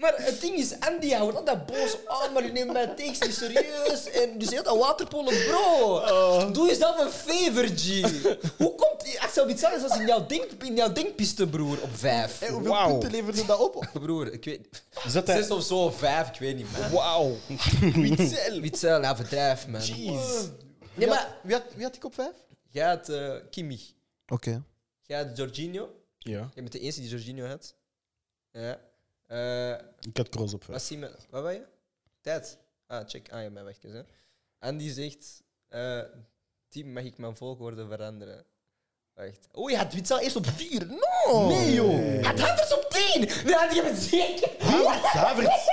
[SPEAKER 1] Maar het ding is, Andy hij wordt altijd boos. Oh, maar je neemt mijn tekst niet serieus. En dus heel dat waterpolen, bro.
[SPEAKER 3] Oh.
[SPEAKER 1] Doe jezelf een favor, G. Hoe komt Axel Witsel is als in jouw, denk, in jouw denkpiste, broer, op vijf?
[SPEAKER 2] Hey, [LAUGHS] hoeveel
[SPEAKER 3] Wauw.
[SPEAKER 2] punten leveren ze dat op?
[SPEAKER 1] Broer, ik weet
[SPEAKER 3] Zet hij-
[SPEAKER 1] Zes of zo, vijf, ik weet niet, man.
[SPEAKER 3] Wauw.
[SPEAKER 2] Witzel.
[SPEAKER 1] Witsel, hij verdrijft, man.
[SPEAKER 3] Jeez.
[SPEAKER 1] Nee,
[SPEAKER 2] Wie had-
[SPEAKER 1] maar
[SPEAKER 2] Wie had, wie had ik op vijf?
[SPEAKER 1] jij had eh, Kimi.
[SPEAKER 2] Oké.
[SPEAKER 1] Jij had Jorginho.
[SPEAKER 3] Ja.
[SPEAKER 1] Jij bent de eerste die Jorginho had. Ja. Eh
[SPEAKER 3] Ik had Kroos op
[SPEAKER 1] wat
[SPEAKER 3] 5.
[SPEAKER 1] zie je? Wat was je? Tijd. Ah, check. Ah, je bent weg. Hè. Andy zegt... eh team, mag ik mijn volgorde veranderen? Wacht. Oh, je had Witsel eerst op vier. No!
[SPEAKER 2] Nee, joh.
[SPEAKER 1] Had Havertz op tien! Nee, had je het zeker?
[SPEAKER 3] Havertz, Havertz.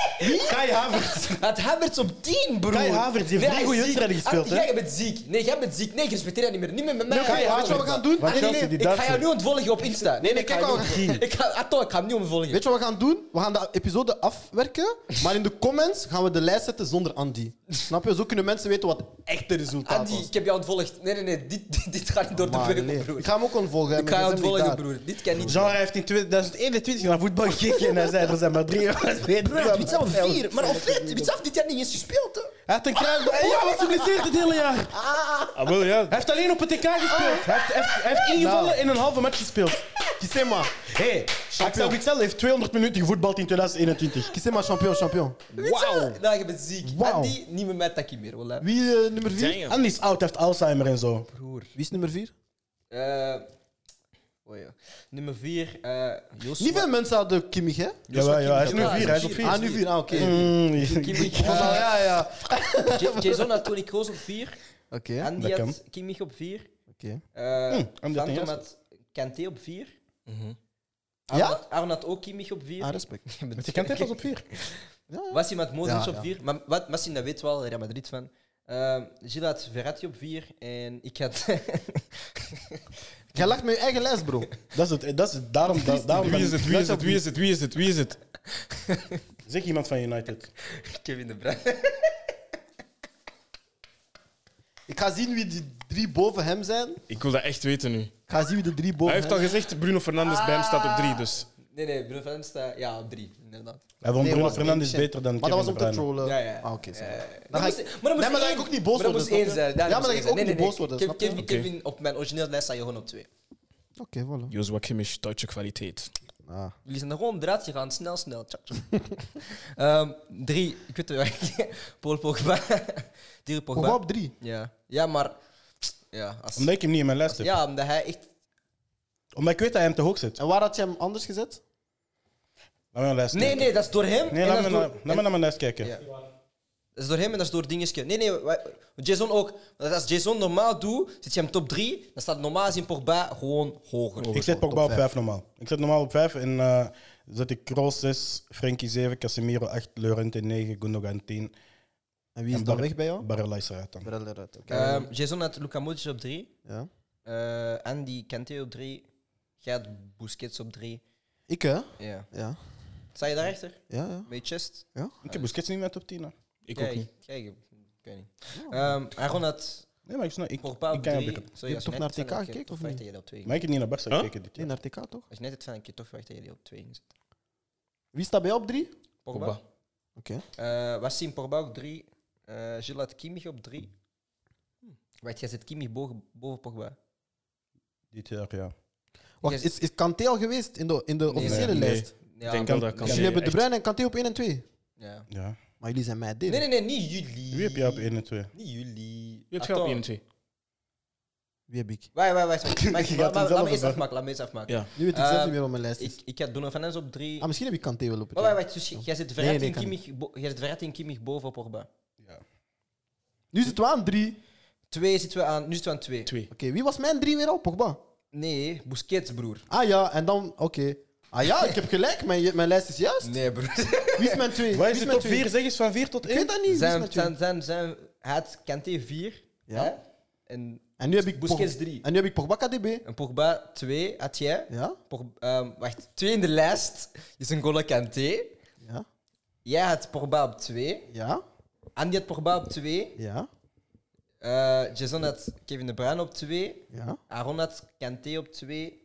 [SPEAKER 3] Kai Havertz.
[SPEAKER 1] Had Havertz op 10, broer.
[SPEAKER 3] Kai Havertz heeft drie
[SPEAKER 1] hij is
[SPEAKER 3] goeie
[SPEAKER 1] ziek.
[SPEAKER 3] wedstrijden gespeeld,
[SPEAKER 1] Ah,
[SPEAKER 3] hè?
[SPEAKER 1] Jij bent ziek. Nee, jij bent ziek. Nee, ik respecteer dat niet meer. Niet meer met mij.
[SPEAKER 2] Nee, Kai Havertz, wat we gaan doen?
[SPEAKER 3] Wat
[SPEAKER 2] Nee, nee,
[SPEAKER 3] Chelsea,
[SPEAKER 2] nee.
[SPEAKER 3] die
[SPEAKER 1] Ah, Ik ga jou
[SPEAKER 3] Duitsers.
[SPEAKER 1] nu ontvolgen op Insta. Nee, nee, ik
[SPEAKER 2] kijk
[SPEAKER 1] ga
[SPEAKER 2] wel.
[SPEAKER 1] jou niet- ik ga, Atto, ik ga hem niet ontvolgen.
[SPEAKER 2] Weet je wat we gaan doen? We gaan de episode afwerken, maar in de comments gaan we de lijst zetten zonder Andy. Snap je? Zo kunnen mensen weten wat het echte resultaat
[SPEAKER 1] Andy,
[SPEAKER 2] was.
[SPEAKER 1] Ah, ik heb jou ontvolgd. Nee, nee, nee. Dit, dit, dit gaat niet door de
[SPEAKER 2] Maar
[SPEAKER 1] beugel,
[SPEAKER 2] nee,
[SPEAKER 1] broer.
[SPEAKER 2] Ik ga hem ook ontvolgen. hè,
[SPEAKER 1] Ik
[SPEAKER 2] maar
[SPEAKER 1] ga jou
[SPEAKER 2] dat is hem
[SPEAKER 1] ontvolgen,
[SPEAKER 2] niet
[SPEAKER 1] broer. Dit kan niet.
[SPEAKER 3] Genre heeft in 2021 naar voetbal gekeken en hij zei er zijn maar drie [LAUGHS] jongens beter.
[SPEAKER 1] Broer, dit zelf
[SPEAKER 3] dan
[SPEAKER 1] vier. Maar op dit, dit zelf dit jaar niet eens gespeeld, hè.
[SPEAKER 3] Hij heeft een kruis. Hij was geblesseerd het hele jaar.
[SPEAKER 4] Ah, wel ja.
[SPEAKER 3] Hij heeft alleen op het TK gespeeld. Hij heeft, heeft, heeft ingevallen
[SPEAKER 2] Nou.
[SPEAKER 3] en een halve match gespeeld. Kisema. Hé, hey, Axel Witsel heeft 200 minuten gevoetbald in 2021.
[SPEAKER 2] daar. Kies hem maar champion, champion.
[SPEAKER 1] Wauw. Nou, je bent ziek.
[SPEAKER 3] Wauw.
[SPEAKER 1] Andy, niet meer met Taki meer, voilà.
[SPEAKER 2] Wie eh, nummer 4?
[SPEAKER 4] Damn.
[SPEAKER 3] Andy is oud, hij heeft Alzheimer en zo.
[SPEAKER 1] Broer.
[SPEAKER 2] Wie is nummer 4?
[SPEAKER 1] Eh, oh ja. Nummer 4, eh Joshua.
[SPEAKER 2] Niet veel mensen hadden Kimmich, hè?
[SPEAKER 3] Jawel, ja, hij is nu
[SPEAKER 1] Ja,
[SPEAKER 3] vier, hij is op
[SPEAKER 1] vier.
[SPEAKER 3] vier.
[SPEAKER 2] Ah, nu 4. Ah, oké.
[SPEAKER 3] Mm, [LAUGHS]
[SPEAKER 1] Kimmich.
[SPEAKER 2] Ah,
[SPEAKER 1] Eh,
[SPEAKER 2] [LAUGHS] ja, ja.
[SPEAKER 1] Ja- Jason had Tony Kroos op 4.
[SPEAKER 2] Oké,
[SPEAKER 1] Andy
[SPEAKER 3] dat
[SPEAKER 1] had
[SPEAKER 3] kan.
[SPEAKER 1] Kimmich op 4.
[SPEAKER 2] oké.
[SPEAKER 1] eh
[SPEAKER 3] Hm, Andy had
[SPEAKER 1] Phantom
[SPEAKER 3] een
[SPEAKER 1] had Kanté op 4.
[SPEAKER 2] Ja?
[SPEAKER 1] Aaron had ook Kimmich op 4.
[SPEAKER 2] Ah, respect.
[SPEAKER 3] Je kent het als op vier.
[SPEAKER 1] Wassim had Modric
[SPEAKER 2] Ja,
[SPEAKER 1] op
[SPEAKER 2] ja.
[SPEAKER 1] 4. Maar wat, Wassim, dat weet wel, Real Madrid van. Ehm Gilles had Verratti op 4. En ik had... [LAUGHS]
[SPEAKER 2] Jij lacht met je eigen lijst, bro.
[SPEAKER 3] Dat is het, dat is het, daarom, da- daarom
[SPEAKER 4] Wie is het? Wie is het? Wie is het? Wie is het? Wie is het?
[SPEAKER 3] Zeg iemand van United.
[SPEAKER 1] Kevin De Bruyne.
[SPEAKER 2] Ik ga zien wie die drie boven hem zijn. Ik
[SPEAKER 4] Ik wil dat echt weten nu.
[SPEAKER 2] ga zien wie de drie boven
[SPEAKER 4] Hij heeft al
[SPEAKER 2] hem
[SPEAKER 4] gezegd, Bruno Fernandes bij hem staat op drie, dus...
[SPEAKER 1] Nee, nee, Bruno Fernandes staat... Ja, op 3, inderdaad.
[SPEAKER 3] Hij vond
[SPEAKER 2] Nee,
[SPEAKER 3] Bruno
[SPEAKER 2] was
[SPEAKER 3] Fernandes
[SPEAKER 2] één shit.
[SPEAKER 3] beter dan
[SPEAKER 2] Maar dat was
[SPEAKER 3] Kevin
[SPEAKER 2] om te
[SPEAKER 3] De Bruyne.
[SPEAKER 2] trollen.
[SPEAKER 1] Ja, ja.
[SPEAKER 2] Ah, oké. snap ik.
[SPEAKER 1] Eh,
[SPEAKER 2] Dan ga
[SPEAKER 1] moest-
[SPEAKER 2] ik-
[SPEAKER 1] maar dan moest
[SPEAKER 2] Nee, maar dan ga
[SPEAKER 1] één-
[SPEAKER 2] ik ook niet boos
[SPEAKER 1] maar dan
[SPEAKER 2] worden.
[SPEAKER 1] moest
[SPEAKER 2] snap
[SPEAKER 1] één
[SPEAKER 2] je?
[SPEAKER 1] zijn.
[SPEAKER 2] Ja, maar
[SPEAKER 1] moest
[SPEAKER 2] dan ga
[SPEAKER 1] één
[SPEAKER 2] ik ook
[SPEAKER 1] zijn.
[SPEAKER 2] niet boos worden.
[SPEAKER 1] Kev-
[SPEAKER 2] snap je?
[SPEAKER 1] Kevin, Kevin, op mijn origineel lijst staat gewoon op 2.
[SPEAKER 2] Oké, voilà.
[SPEAKER 4] Joshua Kimmich, Duitse kwaliteit.
[SPEAKER 2] Ah.
[SPEAKER 1] Jullie zijn er gewoon draad gegaan, snel, snel. Tja, [LAUGHS] tja. Ehm, drie, ik weet het wel. [LAUGHS] Paul Pogba. Dier
[SPEAKER 2] Pogba
[SPEAKER 1] Pogba.
[SPEAKER 2] op drie.
[SPEAKER 1] Ja, ja maar... Ja, als,
[SPEAKER 3] Omdat ik hem niet in mijn lijst heb.
[SPEAKER 1] ja, omdat hij echt...
[SPEAKER 3] Omdat ik weet dat hij hem te hoog zit.
[SPEAKER 2] En waar had je hem anders gezet?
[SPEAKER 3] Laat me naar mijn lijst
[SPEAKER 1] Nee,
[SPEAKER 3] kijken.
[SPEAKER 1] nee, dat is door hem.
[SPEAKER 3] Nee,
[SPEAKER 1] en
[SPEAKER 3] laat
[SPEAKER 1] dat is
[SPEAKER 3] me
[SPEAKER 2] nou-
[SPEAKER 3] naar-
[SPEAKER 1] door-
[SPEAKER 3] laat me nou naar mijn lijst kijken.
[SPEAKER 1] Ja. Dat is door hem en dat is door dingetje. Nee, nee, wa- Jason ook. Want als Jason normaal doet, zit je hem top 3, dan staat normaal gezien Pogba gewoon hoger.
[SPEAKER 3] Ik zet Pogba op 5 normaal. Ik zet normaal op 5 en eh, zet ik Kroos 6, Frenkie 7, Casemiro 8, Llorente 9, Gundogan 10.
[SPEAKER 2] En wie is
[SPEAKER 3] En
[SPEAKER 2] dan
[SPEAKER 3] Bar-
[SPEAKER 2] weg bij jou?
[SPEAKER 3] Barella is eruit dan.
[SPEAKER 2] Brel eruit, oké.
[SPEAKER 1] Ehm, Jason had Luka Modric op 3,
[SPEAKER 2] Ja.
[SPEAKER 1] eh, Andy Kante op 3, jij had Busquets op 3.
[SPEAKER 2] Ik, hè?
[SPEAKER 1] Ja.
[SPEAKER 2] Ja.
[SPEAKER 1] Sta je daarachter?
[SPEAKER 2] Ja, ja.
[SPEAKER 1] Met je chest?
[SPEAKER 3] Ik heb Busquets niet meer top 10. hè.
[SPEAKER 4] Ik
[SPEAKER 1] Kijk,
[SPEAKER 4] ook niet.
[SPEAKER 1] Kijk, ik weet niet. Ehm, Aaron had
[SPEAKER 3] Nee, maar ik snap. Ik,
[SPEAKER 1] Pogba
[SPEAKER 3] ik
[SPEAKER 1] op
[SPEAKER 3] kan
[SPEAKER 1] 3.
[SPEAKER 3] je beter.
[SPEAKER 1] Sorry,
[SPEAKER 2] Je hebt
[SPEAKER 1] als
[SPEAKER 2] toch
[SPEAKER 1] net
[SPEAKER 2] naar
[SPEAKER 1] het fan
[SPEAKER 2] TK
[SPEAKER 1] had, ik
[SPEAKER 2] gekeken,
[SPEAKER 1] toch
[SPEAKER 2] of
[SPEAKER 1] verwacht
[SPEAKER 2] niet?
[SPEAKER 1] dat je dat op twee
[SPEAKER 3] Maar ik heb niet naar Barca
[SPEAKER 4] Huh?
[SPEAKER 3] gekeken dit
[SPEAKER 2] Nee,
[SPEAKER 3] jaar.
[SPEAKER 2] naar TK toch?
[SPEAKER 1] Als je net het fan had, ik toch verwacht dat je die op 2 ging zetten.
[SPEAKER 2] Wie staat bij jou op drie?
[SPEAKER 1] Pogba.
[SPEAKER 4] Pogba.
[SPEAKER 2] Oké.
[SPEAKER 1] Eh, Wassim Pogba op 3. eh Gilles had Kimmich op 3.
[SPEAKER 2] Hm.
[SPEAKER 1] Wacht, jij zet Kimmich boven, boven Pogba.
[SPEAKER 3] Dit jaar, ja.
[SPEAKER 2] Wacht, is, is Kanté al geweest in de, in de officiële
[SPEAKER 4] nee, nee.
[SPEAKER 2] lijst?
[SPEAKER 1] Ja,
[SPEAKER 4] denk
[SPEAKER 1] maar-
[SPEAKER 4] dat dat kan.
[SPEAKER 2] Dus
[SPEAKER 1] Nee,
[SPEAKER 2] jullie hebben De
[SPEAKER 4] echt.
[SPEAKER 2] Bruyne en Kanté op 1 en 2.
[SPEAKER 1] ja.
[SPEAKER 3] ja.
[SPEAKER 2] Maar jullie zijn mij dit.
[SPEAKER 1] nee, nee, nee, niet jullie.
[SPEAKER 3] Wie heb jij op 1 en 2?
[SPEAKER 4] Ah,
[SPEAKER 1] Niet jullie.
[SPEAKER 4] Je hebt geld
[SPEAKER 1] Attends,
[SPEAKER 4] 1 en 2.
[SPEAKER 2] Wie heb ik?
[SPEAKER 1] Wacht, wacht,
[SPEAKER 2] [LAUGHS]
[SPEAKER 1] wacht. wacht,
[SPEAKER 3] Je
[SPEAKER 1] laat- laat-
[SPEAKER 3] gaat hem zelf
[SPEAKER 1] Laat me eens
[SPEAKER 3] even.
[SPEAKER 1] afmaken. Laat me eens afmaken.
[SPEAKER 4] Ja.
[SPEAKER 2] Nu weet ik zelf
[SPEAKER 1] Eh,
[SPEAKER 2] niet meer wat mijn lijst is.
[SPEAKER 1] Ik, ik ga Bruno Fernandes op drie.
[SPEAKER 2] Ah, misschien heb ik Kanté wel op het
[SPEAKER 1] Wacht, wacht, wacht. Dus j- jij zit Verratti
[SPEAKER 2] nee,
[SPEAKER 1] en
[SPEAKER 2] kan
[SPEAKER 1] Kimmich bo- jij zit Verratti en Kimmich boven op Orba.
[SPEAKER 2] Nu zitten we aan drie. Oké,
[SPEAKER 1] Twee zitten we aan, nu zitten we aan twee.
[SPEAKER 4] Twee.
[SPEAKER 2] wie was mijn drie weer al? Pogba.
[SPEAKER 1] Nee, Busquets, broer.
[SPEAKER 2] Ah ja, en dan... Oké. Ah ja, ik heb gelijk. Mijn, mijn lijst is juist.
[SPEAKER 1] Nee, broer. [LAUGHS]
[SPEAKER 2] Wie is mijn twee?
[SPEAKER 3] Wat
[SPEAKER 2] Wie
[SPEAKER 3] is de
[SPEAKER 2] mijn
[SPEAKER 3] top
[SPEAKER 2] twee?
[SPEAKER 3] 4? Zeg eens van 4 tot
[SPEAKER 2] Ik
[SPEAKER 3] 1.
[SPEAKER 2] weet dat niet. dus Wie is mijn
[SPEAKER 1] Zijn,
[SPEAKER 2] twee?
[SPEAKER 1] zijn, zijn, zijn, hij had Kanté vier.
[SPEAKER 2] Ja.
[SPEAKER 1] hè? En,
[SPEAKER 2] En nu heb ik
[SPEAKER 1] Busquets
[SPEAKER 2] Pogba-
[SPEAKER 1] drie.
[SPEAKER 2] En nu heb ik Pogba KDB.
[SPEAKER 1] en Pogba twee had jij.
[SPEAKER 2] Ja?
[SPEAKER 1] Pog- ehm, wacht, twee in de lijst is een golle Kanté.
[SPEAKER 2] Ja?
[SPEAKER 1] Jij had Pogba op twee.
[SPEAKER 2] Ja?
[SPEAKER 1] Andy had Pogba op twee.
[SPEAKER 2] Ja?
[SPEAKER 1] Eh, Jason had Kevin De Bruyne op twee.
[SPEAKER 2] Ja?
[SPEAKER 1] Aaron had Kanté op 2.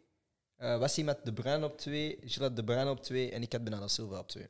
[SPEAKER 1] Uh, Wassim had De Bruin op 2. Gilles had De Bruin op 2. En ik had Benada Silva op 2.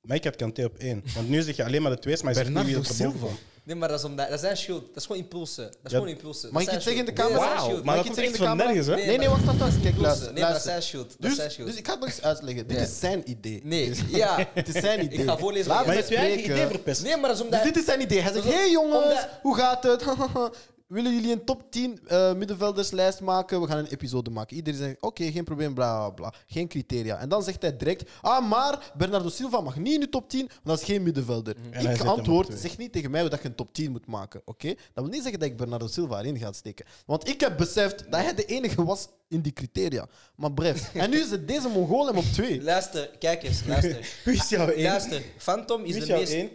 [SPEAKER 3] Maar ik had Kanté op 1. Want nu zeg je alleen maar de twee's, maar je zegt niet wie
[SPEAKER 4] Bernardo
[SPEAKER 3] dat erboven
[SPEAKER 4] Silva.
[SPEAKER 3] valt.
[SPEAKER 1] Nee, maar dat is, omdat, dat zijn schuld. Dat is gewoon impulsen. Dat is
[SPEAKER 3] Ja.
[SPEAKER 1] gewoon impulsen.
[SPEAKER 2] Mag
[SPEAKER 1] Dat
[SPEAKER 2] ik
[SPEAKER 1] zijn
[SPEAKER 2] iets zeggen in de
[SPEAKER 1] schuld.
[SPEAKER 2] camera?
[SPEAKER 1] Nee, dat zijn
[SPEAKER 4] Wauw,
[SPEAKER 1] schuld.
[SPEAKER 4] maar
[SPEAKER 2] Mag ik
[SPEAKER 4] dat komt
[SPEAKER 2] iets zeggen
[SPEAKER 4] echt van
[SPEAKER 2] in de
[SPEAKER 4] nergens, hè?
[SPEAKER 1] Nee,
[SPEAKER 2] Nee, nee, wacht, wacht, wacht. Kijk, luister.
[SPEAKER 1] Impulsen. Nee, maar dat
[SPEAKER 2] luister.
[SPEAKER 1] zijn schuld. Dat
[SPEAKER 2] Dus,
[SPEAKER 1] zijn schuld.
[SPEAKER 2] dus ik ga het nog eens uitleggen. Dit
[SPEAKER 1] Ja.
[SPEAKER 2] is zijn idee.
[SPEAKER 1] nee,
[SPEAKER 2] Dit is-
[SPEAKER 1] ja.
[SPEAKER 2] [LAUGHS] Het is zijn idee.
[SPEAKER 1] Ik ga voorlezen.
[SPEAKER 2] Laat
[SPEAKER 1] wat
[SPEAKER 3] Maar je
[SPEAKER 1] jij
[SPEAKER 3] hebt je
[SPEAKER 1] zegt.
[SPEAKER 3] eigen
[SPEAKER 2] Spreken.
[SPEAKER 3] idee verpest.
[SPEAKER 1] eh, Nee, maar dat is omdat...
[SPEAKER 2] Dus dit is zijn idee. Hij zegt:
[SPEAKER 1] Omdat-
[SPEAKER 2] Hey jongens,
[SPEAKER 1] omdat-
[SPEAKER 2] hoe gaat het? [LAUGHS] Willen jullie een top 10 eh, middenvelderslijst maken? We gaan een episode maken. Iedereen zegt: Oké, geen probleem, bla bla bla. Geen criteria. En dan zegt hij direct: Ah, maar Bernardo Silva mag niet in de top 10, want dat is geen middenvelder.
[SPEAKER 3] Mhm. hij zet
[SPEAKER 2] Ik
[SPEAKER 3] hem op
[SPEAKER 2] antwoord:
[SPEAKER 3] twee.
[SPEAKER 2] Zeg niet tegen mij hoe dat je een top 10 moet maken. Oké? Dat wil niet zeggen dat ik Bernardo Silva erin ga steken. Want ik heb beseft dat hij de enige was in die criteria. Maar
[SPEAKER 1] [LAUGHS]
[SPEAKER 2] bref. En nu zit deze Mongool hem op 2.
[SPEAKER 1] Luister, kijk eens.
[SPEAKER 2] [LAUGHS]
[SPEAKER 1] Luister.
[SPEAKER 3] Wie is jouw 1?
[SPEAKER 1] luister. Phantom
[SPEAKER 3] Wie
[SPEAKER 1] is,
[SPEAKER 3] is
[SPEAKER 1] de
[SPEAKER 3] jouw
[SPEAKER 1] meest,
[SPEAKER 3] 1?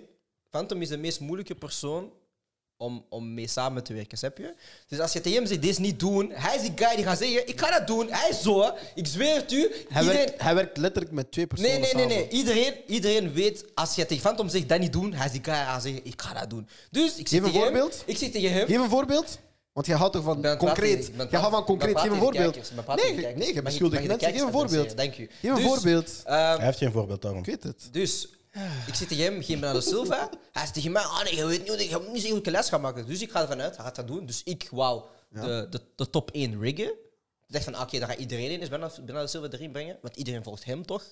[SPEAKER 1] Phantom is de meest moeilijke persoon... Om, om mee samen te werken, snap je? Dus als je tegen hem zegt, deze niet doen, hij is die guy die gaat zeggen, ik ga dat doen, hij is zo, hè. ik zweer het u.
[SPEAKER 2] Hij
[SPEAKER 1] iedereen-
[SPEAKER 2] werkt, hij werkt letterlijk met twee personen.
[SPEAKER 1] Nee, nee, nee,
[SPEAKER 2] samen.
[SPEAKER 1] nee. Iedereen, iedereen weet, als je tegen Phantom zegt dat niet doen, hij zegt, ja, hij zegt ik ga dat doen. Dus ik zeg,
[SPEAKER 2] een
[SPEAKER 1] tegen hem,
[SPEAKER 2] voorbeeld.
[SPEAKER 1] ik zeg tegen hem,
[SPEAKER 2] Geef een voorbeeld. Want jij houdt toch van
[SPEAKER 1] Ik ben aan het praten,
[SPEAKER 2] concreet.
[SPEAKER 1] ik ben aan het
[SPEAKER 2] Jij houdt van
[SPEAKER 1] praten, ik
[SPEAKER 2] concreet.
[SPEAKER 1] ben
[SPEAKER 2] Geef een
[SPEAKER 1] aan het praten
[SPEAKER 2] voorbeeld.
[SPEAKER 1] tegen de kijkers, ik ben aan het praten tegen
[SPEAKER 2] Nee,
[SPEAKER 1] de kijkers.
[SPEAKER 2] nee, je
[SPEAKER 1] Mag ik-
[SPEAKER 2] beschuldigt
[SPEAKER 1] mag ik de
[SPEAKER 2] mensen. Geef een
[SPEAKER 1] kijkers
[SPEAKER 2] voorbeeld.
[SPEAKER 1] adresseren? Dank u.
[SPEAKER 2] Geef een
[SPEAKER 1] Dus,
[SPEAKER 2] voorbeeld.
[SPEAKER 1] ehm,
[SPEAKER 3] Hij heeft geen voorbeeld daarom.
[SPEAKER 2] Ik weet het.
[SPEAKER 1] dus, ik zeg tegen hem, geen Bernardo Silva. Hij zegt tegen mij, ah nee, je weet niet, hoe ik- je moet niet zeggen hoe ik een les ga maken. Dus ik ga ervan uit, hij gaat dat doen. Dus ik wou de, de, de top 1 riggen. Ik dacht van, oké, daar gaat iedereen in. Dus Bernardo Bernardo Silva erin brengen, want iedereen volgt hem toch.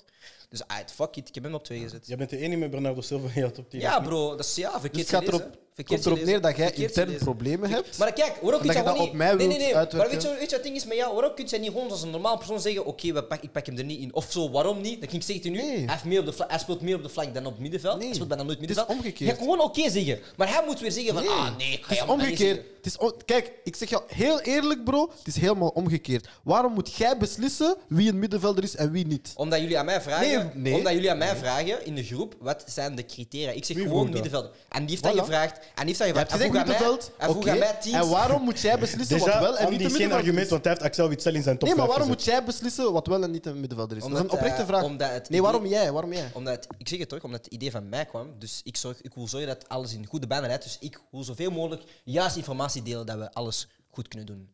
[SPEAKER 1] Dus, ah, fuck it, ik heb hem op 2 gezet.
[SPEAKER 3] Je bent de enige met Bernardo Silva in jouw top 10.
[SPEAKER 1] Ja, bro, dat is ja, verkeerd
[SPEAKER 2] Dus het gaat
[SPEAKER 1] gelezen.
[SPEAKER 2] erop,
[SPEAKER 1] Verkeerd
[SPEAKER 2] komt erop
[SPEAKER 1] gelezen.
[SPEAKER 2] neer dat jij
[SPEAKER 1] Verkeerd
[SPEAKER 2] intern
[SPEAKER 1] gelezen.
[SPEAKER 2] problemen hebt.
[SPEAKER 1] Maar kijk, waarom
[SPEAKER 2] En
[SPEAKER 1] kun
[SPEAKER 2] dat je
[SPEAKER 1] je
[SPEAKER 2] dat
[SPEAKER 1] gewoon
[SPEAKER 2] op
[SPEAKER 1] niet...
[SPEAKER 2] mij
[SPEAKER 1] nee, nee,
[SPEAKER 2] wilt
[SPEAKER 1] nee. Maar
[SPEAKER 2] uitwerken.
[SPEAKER 1] weet je, weet je wat het ding is met jou? Waarom kun je niet gewoon als een normaal persoon zeggen... Oké, we pak- ik pak hem er niet in. Of zo, waarom niet? Dan ging ik zeggen tegen u...
[SPEAKER 2] Nee.
[SPEAKER 1] Hij, heeft meer op de fla- hij speelt meer op de flank dan op het middenveld.
[SPEAKER 2] Nee.
[SPEAKER 1] Hij speelt bijna nooit
[SPEAKER 2] Het is
[SPEAKER 1] middenveld.
[SPEAKER 2] omgekeerd.
[SPEAKER 1] Je kan gewoon oké zeggen. Maar hij moet weer zeggen van... Ah, nee, ik ga
[SPEAKER 2] het is
[SPEAKER 1] jou maar niet
[SPEAKER 2] omgekeerd.
[SPEAKER 1] zeggen.
[SPEAKER 2] Het is om- Kijk, ik zeg jou heel eerlijk, bro. Het is helemaal omgekeerd. Waarom moet jij beslissen wie een middenvelder is en wie niet?
[SPEAKER 1] Omdat jullie aan mij vragen...
[SPEAKER 2] Nee, nee.
[SPEAKER 1] Omdat jullie aan mij vragen in de groep... Wat zijn de criteria? Ik zeg
[SPEAKER 3] Wie
[SPEAKER 1] gewoon
[SPEAKER 3] vroeg dat?
[SPEAKER 1] middenvelder. En die heeft
[SPEAKER 2] Voilà.
[SPEAKER 1] dat gevraagd. En die heeft dat
[SPEAKER 2] Je hebt
[SPEAKER 1] gevraagd. en vroeg
[SPEAKER 2] gezegd
[SPEAKER 1] aan mij...
[SPEAKER 2] middenveld.
[SPEAKER 1] En vroeg
[SPEAKER 2] oké.
[SPEAKER 1] aan mij teams.
[SPEAKER 2] En waarom moet jij beslissen wat wel en
[SPEAKER 3] Déjà,
[SPEAKER 2] niet
[SPEAKER 3] Andy
[SPEAKER 2] een
[SPEAKER 3] is geen
[SPEAKER 2] middenvelder
[SPEAKER 3] argument,
[SPEAKER 2] is?
[SPEAKER 3] want hij heeft Axel Witsel in zijn top
[SPEAKER 2] Nee, maar
[SPEAKER 3] 5
[SPEAKER 2] waarom moet
[SPEAKER 3] gezet.
[SPEAKER 2] jij beslissen wat wel en niet een middenvelder is? dat is
[SPEAKER 1] Omdat,
[SPEAKER 2] een oprechte
[SPEAKER 1] eh,
[SPEAKER 2] vraag.
[SPEAKER 1] omdat het
[SPEAKER 2] nee,
[SPEAKER 1] idee-
[SPEAKER 2] waarom jij? Waarom jij?
[SPEAKER 1] Omdat het- ik zeg het toch, omdat het idee van mij kwam. Dus ik, zorg, ik wil zorgen dat alles in goede banen rijdt. Dus ik wil zoveel mogelijk juist informatie delen dat we alles goed kunnen doen.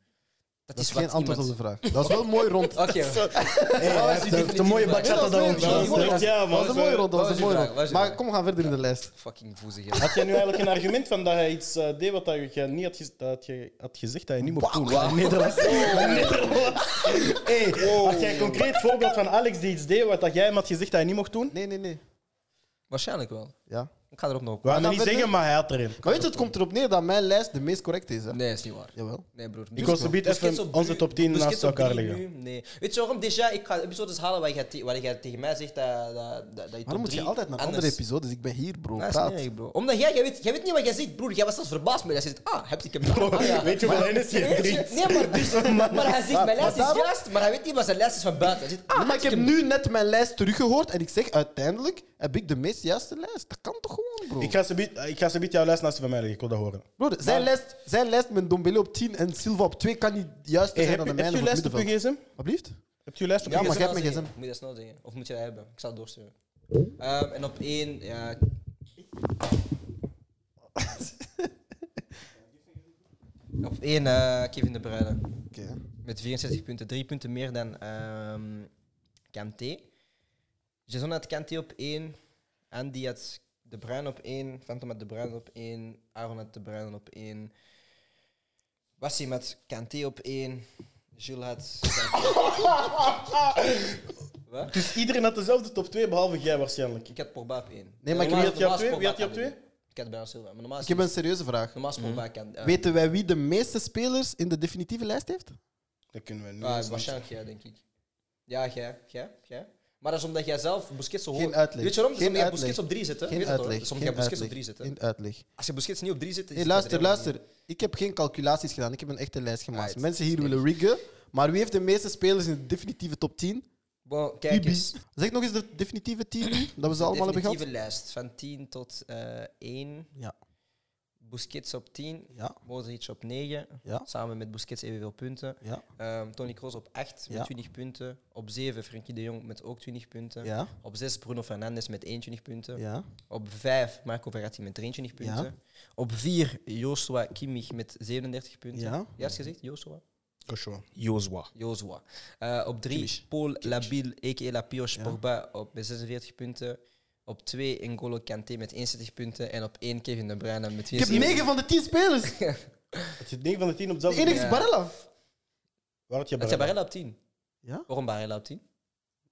[SPEAKER 1] Dat,
[SPEAKER 2] Dat is
[SPEAKER 1] is wat
[SPEAKER 2] geen antwoord op
[SPEAKER 1] iemand-
[SPEAKER 2] de vraag. Dat
[SPEAKER 1] [LAUGHS]
[SPEAKER 2] is wel mooi rond.
[SPEAKER 3] [LAUGHS]
[SPEAKER 1] Oké, [LAUGHS]
[SPEAKER 3] Hey, hij heeft een- heeft een mooie
[SPEAKER 1] Nee,
[SPEAKER 2] Nee,
[SPEAKER 3] bachata daar
[SPEAKER 2] dat was
[SPEAKER 3] ontstaan.
[SPEAKER 2] mooi rond.
[SPEAKER 3] Ja,
[SPEAKER 2] Dat was
[SPEAKER 3] man.
[SPEAKER 2] een mooie rond. Dat
[SPEAKER 1] Waar
[SPEAKER 2] was een
[SPEAKER 1] is je
[SPEAKER 2] mooie
[SPEAKER 1] vraag? Waar
[SPEAKER 2] rond.
[SPEAKER 1] is je
[SPEAKER 2] Maar
[SPEAKER 1] vraag?
[SPEAKER 2] kom, we gaan verder in de lijst.
[SPEAKER 1] fucking voezig. hè.
[SPEAKER 3] Had jij nu eigenlijk een argument van dat hij iets eh, deed wat dat je niet had, gez- dat je had gezegd dat je niet mocht doen? Wow. Nederlands. Nederlands. Hey, [LAUGHS] Had jij een concreet voorbeeld van Alex die iets deed wat dat jij hem had gezegd dat hij niet mocht doen?
[SPEAKER 2] Nee, nee, nee.
[SPEAKER 1] Waarschijnlijk wel.
[SPEAKER 2] Ja.
[SPEAKER 1] Ik ga erop nog op.
[SPEAKER 3] We gaan
[SPEAKER 2] dan
[SPEAKER 3] het niet
[SPEAKER 2] verder-
[SPEAKER 3] zeggen, maar hij had erin.
[SPEAKER 2] Maar weet je, het komt erop neer dat mijn lijst de meest correcte is. Hè?
[SPEAKER 1] Nee, is niet waar.
[SPEAKER 2] Jawel.
[SPEAKER 1] Nee, broer.
[SPEAKER 3] Ik wil zo biedt
[SPEAKER 1] Busquets
[SPEAKER 3] even
[SPEAKER 1] op
[SPEAKER 3] onze
[SPEAKER 1] drie-
[SPEAKER 3] top 10
[SPEAKER 1] Busquets
[SPEAKER 3] naast
[SPEAKER 1] op
[SPEAKER 3] elkaar
[SPEAKER 1] drie
[SPEAKER 3] leggen.
[SPEAKER 1] nu? Nee. Weet je waarom, Deja? Ik ga episodes halen waar jij, te- waar jij tegen mij zegt dat, dat, dat je top
[SPEAKER 2] Waarom moet je
[SPEAKER 1] drie
[SPEAKER 2] altijd naar
[SPEAKER 1] anders-
[SPEAKER 2] andere episodes? Dus Ik ben hier, bro.
[SPEAKER 1] Dat is
[SPEAKER 2] Praat.
[SPEAKER 1] niet erg, bro. Omdat jij, jij, weet, jij weet niet wat jij zegt, broer. Jij was zelfs verbaasd met dat je zegt, ah, heb ik hem
[SPEAKER 2] Oh,
[SPEAKER 1] gedaan? Ah,
[SPEAKER 2] [LAUGHS]
[SPEAKER 1] ja.
[SPEAKER 3] Weet je hoeveel Hennessy je
[SPEAKER 1] Nee,
[SPEAKER 3] drinkt?
[SPEAKER 1] Nee, maar, dus, maar hij zegt,
[SPEAKER 2] maar
[SPEAKER 1] mijn lijst is
[SPEAKER 2] daarom-
[SPEAKER 1] juist, maar hij weet niet wat zijn lijst is van buiten. Hij zegt, ah,
[SPEAKER 2] Maar ik heb nu net mijn lijst teruggehoord en ik zeg uiteindelijk heb ik de meest juiste lijst. Dat kan toch gewoon, bro?
[SPEAKER 3] Ik ga zo biedt- Ik ga zo biedt jouw lijst naast die van mij leggen, ik wil dat horen.
[SPEAKER 2] Broer, zijn, lijst, zijn lijst met Dombele op 10 en Silva op 2 kan niet juist
[SPEAKER 3] Hey,
[SPEAKER 2] zijn
[SPEAKER 3] Eh, heb
[SPEAKER 2] dan de
[SPEAKER 3] je
[SPEAKER 2] mijne
[SPEAKER 3] heb je
[SPEAKER 2] voor
[SPEAKER 3] lijst op je
[SPEAKER 2] middenveld.
[SPEAKER 3] gsm?
[SPEAKER 2] Alsjeblieft.
[SPEAKER 3] Heb je lijst op
[SPEAKER 2] Ja,
[SPEAKER 3] je
[SPEAKER 2] maar
[SPEAKER 3] gsm?
[SPEAKER 2] jij hebt mijn
[SPEAKER 1] snel zeggen.
[SPEAKER 2] gsm.
[SPEAKER 1] Moet je dat snel zeggen? Of moet je dat hebben? Ik zal het doorsturen. Ehm, en op één,
[SPEAKER 2] [LAUGHS]
[SPEAKER 1] ja... op één eh, Kevin De Bruyne.
[SPEAKER 2] Oké.
[SPEAKER 1] Met 64 punten. Drie punten meer dan ehm Kanté. Jason had Kanté op één. Andy had De Bruin op één. Phantom had De Bruin op één. Aaron had De Bruin op één. Wassim had Kanté op één. Jules had... Wat?
[SPEAKER 3] Dus iedereen had dezelfde top 2, behalve jij waarschijnlijk.
[SPEAKER 1] Ik had Pogba op één.
[SPEAKER 2] Nee, maar
[SPEAKER 3] Wie had je op 2? Wie had je op 2?
[SPEAKER 1] Bernardo Silva. Maar normaal is
[SPEAKER 2] Ik heb een serieuze vraag.
[SPEAKER 1] normaal is Pogba Cat. eh,
[SPEAKER 2] Weten wij wie de meeste spelers in de definitieve lijst heeft?
[SPEAKER 3] Dat kunnen we niet.
[SPEAKER 1] ah,
[SPEAKER 3] eens niet.
[SPEAKER 1] waarschijnlijk jij, denk ik. Ja, jij, jij, jij. Maar dat is omdat jij zelf Busquets zo hoog...
[SPEAKER 2] Geen uitleg.
[SPEAKER 1] Weet je waarom? Dat is
[SPEAKER 2] Geen
[SPEAKER 1] omdat jij
[SPEAKER 2] uitleg.
[SPEAKER 1] Busquets op drie zit, hè?
[SPEAKER 2] Geen
[SPEAKER 1] Weet je dat, hoor?
[SPEAKER 2] uitleg.
[SPEAKER 1] Dat is
[SPEAKER 2] Geen
[SPEAKER 1] omdat jij Busquets op drie
[SPEAKER 2] uitleg.
[SPEAKER 1] zit, hè?
[SPEAKER 2] Geen uitleg.
[SPEAKER 1] Als je Busquets niet op drie zit... is
[SPEAKER 2] Hey,
[SPEAKER 1] het
[SPEAKER 2] luister,
[SPEAKER 1] helemaal niet.
[SPEAKER 2] luister. Ik heb geen calculaties gedaan. Ik heb een echte lijst gemaakt.
[SPEAKER 1] Right.
[SPEAKER 2] Mensen hier
[SPEAKER 1] Slim.
[SPEAKER 2] willen riggen. Maar wie heeft de meeste spelers in de definitieve top 10?
[SPEAKER 1] Bon, kijk
[SPEAKER 2] Ibi.
[SPEAKER 1] eens.
[SPEAKER 2] Zeg nog eens de definitieve
[SPEAKER 1] [CLEARS THROAT]
[SPEAKER 2] 10 nu, dat we ze allemaal hebben gehad.
[SPEAKER 1] Definitieve lijst. Van 10 tot eh 1.
[SPEAKER 2] Ja.
[SPEAKER 1] Busquets op 10.
[SPEAKER 2] Ja,
[SPEAKER 1] Modric op 9.
[SPEAKER 2] Ja.
[SPEAKER 1] Samen met Busquets evenveel punten.
[SPEAKER 2] ja,
[SPEAKER 1] Ehm, Tony Kroos op 8
[SPEAKER 2] Ja.
[SPEAKER 1] met 20 punten. Op 7 Frenkie de Jong met ook 20 punten.
[SPEAKER 2] ja,
[SPEAKER 1] Op 6 Bruno Fernandes met 21 punten.
[SPEAKER 2] ja,
[SPEAKER 1] Op 5 Marco Verratti met 23 punten. Op 4 Joshua Kimmich met 37 punten.
[SPEAKER 2] ja. Ah.
[SPEAKER 1] Juist gezegd, Joshua?
[SPEAKER 3] Joshua.
[SPEAKER 4] Jozwa.
[SPEAKER 1] Joshua. Eh, op 3 Paul Labil, a.k.a. La Pioche Pogba op met 46 punten. Op 2 N'Golo Kanté met 71 punten. En op 1 Kevin De Bruyne met
[SPEAKER 2] Ik heb
[SPEAKER 1] 72
[SPEAKER 2] 9 van de 10 spelers.
[SPEAKER 3] Het zit 9 van de 10 op
[SPEAKER 2] De
[SPEAKER 3] hetzelfde.
[SPEAKER 2] enige
[SPEAKER 1] Ja.
[SPEAKER 2] is Barella.
[SPEAKER 3] Waar had je
[SPEAKER 1] Dat is
[SPEAKER 3] Barella?
[SPEAKER 1] Barella op 10.
[SPEAKER 2] Ja?
[SPEAKER 1] Waarom Barella op 10?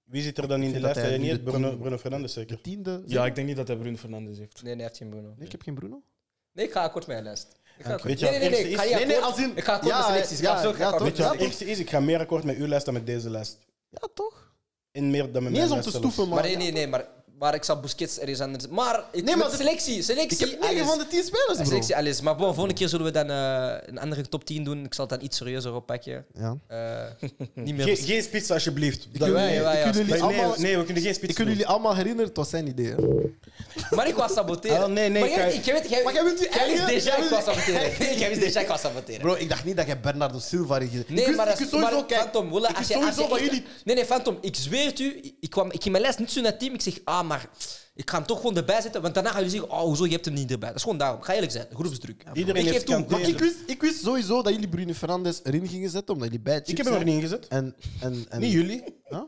[SPEAKER 3] Wie zit er dan in
[SPEAKER 2] Ik
[SPEAKER 3] de
[SPEAKER 2] vind dat
[SPEAKER 3] lijst? dat
[SPEAKER 2] hij
[SPEAKER 3] je
[SPEAKER 2] nu
[SPEAKER 3] niet
[SPEAKER 2] de
[SPEAKER 3] hebt? Bruno,
[SPEAKER 2] tien-
[SPEAKER 3] Bruno Fernandes zeker.
[SPEAKER 2] De tiende.
[SPEAKER 4] Ja, ik denk niet dat hij Bruno Fernandes heeft.
[SPEAKER 1] Nee, nee, hij heeft geen Bruno.
[SPEAKER 2] Nee, ik heb geen Bruno.
[SPEAKER 1] Nee, ik ga akkoord met mijn lijst. Ik ga akkoord.
[SPEAKER 3] Weet je
[SPEAKER 1] nee,
[SPEAKER 3] wat
[SPEAKER 1] nee, nee,
[SPEAKER 3] het
[SPEAKER 1] nee, ik ga niet
[SPEAKER 2] is?
[SPEAKER 3] eerste
[SPEAKER 1] akkoord.
[SPEAKER 2] Nee, nee, als in-
[SPEAKER 1] Ik ga akkoord
[SPEAKER 2] Ja,
[SPEAKER 1] met selecties. Ik
[SPEAKER 2] ja,
[SPEAKER 1] ga absoluut
[SPEAKER 2] ja,
[SPEAKER 1] akkoord met
[SPEAKER 2] toch?
[SPEAKER 3] Weet je wat het
[SPEAKER 1] selecties.
[SPEAKER 2] toch?
[SPEAKER 3] eerste is? Ik ga meer akkoord met uw lijst dan met deze lijst.
[SPEAKER 2] Ja, toch?
[SPEAKER 3] En meer dan met
[SPEAKER 2] Niet
[SPEAKER 3] mijn
[SPEAKER 2] eens om
[SPEAKER 3] lijst
[SPEAKER 2] te
[SPEAKER 3] zelfs.
[SPEAKER 2] stoeven, maar...
[SPEAKER 1] Maar nee, nee, nee, maar, maar ik zal Busquets ergens anders... Maar, ik,
[SPEAKER 2] Nee, maar
[SPEAKER 1] met
[SPEAKER 2] ze-
[SPEAKER 1] selectie,
[SPEAKER 2] Ik
[SPEAKER 1] selectie,
[SPEAKER 2] heb 9
[SPEAKER 1] alles.
[SPEAKER 2] van de 10 spelers, bro.
[SPEAKER 1] Selectie, alles. Maar bon, volgende keer zullen we dan eh, een andere top 10 doen. Ik zal het dan iets serieuzer oppakken.
[SPEAKER 2] Ja.
[SPEAKER 1] Eh, niet meer...
[SPEAKER 3] Geen, geen spits, alsjeblieft.
[SPEAKER 2] Ik
[SPEAKER 1] Dat
[SPEAKER 2] wil
[SPEAKER 1] wij,
[SPEAKER 2] jullie-
[SPEAKER 1] wij
[SPEAKER 2] ik wil
[SPEAKER 1] als-
[SPEAKER 2] jullie
[SPEAKER 3] Nee, nee,
[SPEAKER 2] allemaal-
[SPEAKER 3] nee, we kunnen geen spits
[SPEAKER 2] Ik wil
[SPEAKER 3] doen.
[SPEAKER 2] jullie allemaal herinneren, het was zijn idee. hè.
[SPEAKER 1] Maar ik was
[SPEAKER 2] [LAUGHS]
[SPEAKER 1] saboteren.
[SPEAKER 3] Ah, nee, nee,
[SPEAKER 1] Maar jij,
[SPEAKER 3] kijk.
[SPEAKER 1] ik, jij weet, jij,
[SPEAKER 2] Maar jij bent je
[SPEAKER 1] jij wist
[SPEAKER 2] eigen-
[SPEAKER 1] déjà
[SPEAKER 2] jij
[SPEAKER 1] ik
[SPEAKER 2] bent
[SPEAKER 1] was
[SPEAKER 2] je
[SPEAKER 1] saboteren.
[SPEAKER 2] [LAUGHS]
[SPEAKER 1] Nee, jij wist déjà ik was saboteren.
[SPEAKER 2] Bro, ik dacht niet dat jij Bernardo Silva hier
[SPEAKER 1] Nee,
[SPEAKER 2] ik wist-
[SPEAKER 1] maar,
[SPEAKER 2] ik
[SPEAKER 1] als,
[SPEAKER 2] wist
[SPEAKER 1] maar
[SPEAKER 2] sowieso, kijk,
[SPEAKER 1] Phantom, Willa,
[SPEAKER 2] ik
[SPEAKER 1] als
[SPEAKER 2] wist
[SPEAKER 1] je,
[SPEAKER 2] sowieso
[SPEAKER 1] als je
[SPEAKER 2] van
[SPEAKER 1] echt-
[SPEAKER 2] jullie.
[SPEAKER 1] Nee, nee, Phantom, ik zweer het u, ik, kwam, ik ging mijn lijst niet zo naar het team. Ik zeg, ah, maar ik ga hem toch gewoon erbij zetten. Want daarna gaan jullie zeggen, oh, hoezo, je hebt hem niet erbij. Dat is gewoon daarom. Ga eerlijk zijn, groepsdruk.
[SPEAKER 3] Iedereen
[SPEAKER 1] ik geef
[SPEAKER 3] heeft
[SPEAKER 1] toe.
[SPEAKER 3] kant-
[SPEAKER 1] maar
[SPEAKER 2] Maar ik wist, ik wist sowieso dat jullie Bruno Fernandes erin gingen zetten, omdat jullie bij het
[SPEAKER 3] Ik
[SPEAKER 2] chip
[SPEAKER 3] heb hem er
[SPEAKER 2] zijn.
[SPEAKER 3] niet ingezet.
[SPEAKER 2] En, en, en,
[SPEAKER 3] Niet jullie.
[SPEAKER 2] Huh?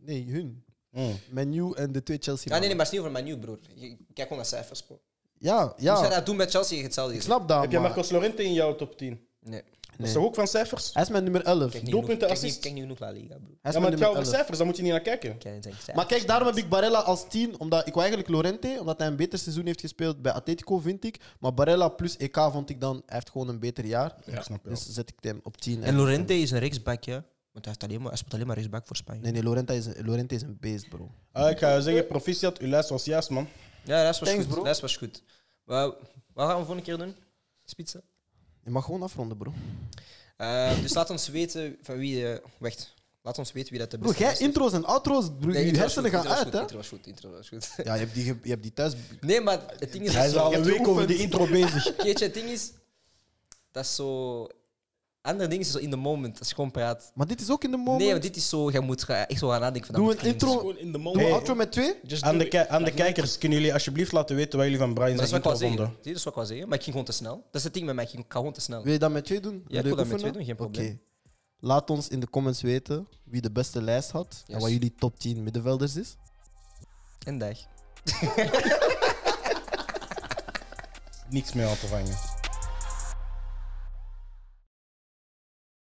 [SPEAKER 2] Nee, hun.
[SPEAKER 3] Mm.
[SPEAKER 2] Menu en de twee Chelsea.
[SPEAKER 1] Ja, nee, nee, maar het is niet over mijn nieuw broer. Je- Kijk gewoon naar cijfers. bro.
[SPEAKER 2] Ja,
[SPEAKER 1] Als jij
[SPEAKER 2] ja.
[SPEAKER 1] dat doet met Chelsea, je hetzelfde.
[SPEAKER 2] Ah. Ik
[SPEAKER 1] gezien.
[SPEAKER 2] snap dat,
[SPEAKER 3] Heb jij
[SPEAKER 2] maar-
[SPEAKER 3] Marcos Lorente in jouw top 10?
[SPEAKER 1] Nee.
[SPEAKER 3] Dat
[SPEAKER 2] Nee.
[SPEAKER 3] is toch ook van cijfers?
[SPEAKER 2] Hij is mijn nummer 11.
[SPEAKER 1] Kijk niet
[SPEAKER 3] Doelpunten,
[SPEAKER 1] genoeg- kijk niet-
[SPEAKER 3] assist.
[SPEAKER 1] Kijk niet genoeg La Liga, broer.
[SPEAKER 2] Hij is
[SPEAKER 3] Ja, maar
[SPEAKER 2] mijn
[SPEAKER 3] het gaat
[SPEAKER 2] nummer
[SPEAKER 3] over
[SPEAKER 2] 11.
[SPEAKER 3] cijfers, daar moet je niet naar kijken.
[SPEAKER 1] Kijk, zijn cijfers.
[SPEAKER 2] Maar kijk, daarom heb ik Barella als 10, omdat ik wou eigenlijk Lorente, omdat hij een beter seizoen heeft gespeeld bij Atletico, vind ik. Maar Barella plus EK vond ik dan, hij heeft gewoon een beter jaar.
[SPEAKER 3] Ja, snap je wel.
[SPEAKER 2] Dus zet ik hem op 10.
[SPEAKER 1] En Lorente is een rechtsback, hè? Want hij, heeft alleen maar, hij speelt alleen maar rechtsback voor Spanje.
[SPEAKER 2] Nee, nee, Lorente is, een- Lorente is een beest, bro.
[SPEAKER 3] Ah, ik ga zeggen, proficiat, uw lijst was juist, man.
[SPEAKER 1] Ja, dat was
[SPEAKER 2] Thanks,
[SPEAKER 1] goed.
[SPEAKER 2] bro.
[SPEAKER 1] Dat was goed. Maar, wat gaan we volgende keer doen? Spitsen.
[SPEAKER 2] Je mag gewoon afronden, bro.
[SPEAKER 1] Dus Eh, dus laat ons weten van wie. eh, wacht. Laat ons weten wie dat de
[SPEAKER 2] Bro,
[SPEAKER 1] beste
[SPEAKER 2] jij
[SPEAKER 1] gast is.
[SPEAKER 2] intro's en outro's, bro,
[SPEAKER 1] Nee,
[SPEAKER 2] je
[SPEAKER 1] intro was
[SPEAKER 2] hersenen
[SPEAKER 1] goed, intro was
[SPEAKER 2] gaan uit,
[SPEAKER 1] goed,
[SPEAKER 2] hè?
[SPEAKER 1] Intro was goed, intro was goed. [LAUGHS]
[SPEAKER 2] Ja, je hebt die, ge- je hebt die thuis...
[SPEAKER 1] Nee, maar het ding is.
[SPEAKER 3] Hij
[SPEAKER 1] dat
[SPEAKER 3] is
[SPEAKER 1] zo-
[SPEAKER 3] al
[SPEAKER 2] Je
[SPEAKER 3] een
[SPEAKER 2] hebt
[SPEAKER 3] week over die
[SPEAKER 2] geoefend.
[SPEAKER 3] intro bezig.
[SPEAKER 1] Keetje, het ding is. Dat is zo. Andere dingen is zo in the moment, als je gewoon praat.
[SPEAKER 2] Maar dit is ook in de moment.
[SPEAKER 1] Nee, want dit is zo. Je moet ga- echt zo gaan nadenken. Van, dat
[SPEAKER 2] Doe
[SPEAKER 1] moet
[SPEAKER 2] een
[SPEAKER 1] ik gaan doen.
[SPEAKER 2] intro.
[SPEAKER 4] Gewoon in de
[SPEAKER 2] Doe
[SPEAKER 4] moment.
[SPEAKER 2] een
[SPEAKER 3] Nee.
[SPEAKER 2] outro met twee.
[SPEAKER 4] Just
[SPEAKER 3] Aan
[SPEAKER 4] do
[SPEAKER 3] de,
[SPEAKER 4] it.
[SPEAKER 3] ki- aan de kijkers, kunnen jullie alsjeblieft laten weten wat jullie van Brian
[SPEAKER 1] Maar dat is
[SPEAKER 3] zijn
[SPEAKER 1] wat ik
[SPEAKER 3] intro
[SPEAKER 1] wou zeggen.
[SPEAKER 3] vonden?
[SPEAKER 1] Zie je, dat is wat ik wou zeggen. Maar ik ging gewoon te snel. Dat is het ding met mij. Ik ging- ik ga gewoon te snel.
[SPEAKER 2] Wil je dat met twee doen? Wil
[SPEAKER 1] ik wil
[SPEAKER 2] je
[SPEAKER 1] dat met
[SPEAKER 2] oefenen?
[SPEAKER 1] twee doen, geen probleem.
[SPEAKER 2] Oké. Laat ons in de comments weten wie de beste lijst had en
[SPEAKER 1] Yes.
[SPEAKER 2] wat jullie top 10 middenvelders is.
[SPEAKER 1] En dag.
[SPEAKER 3] Niks meer aan te vangen.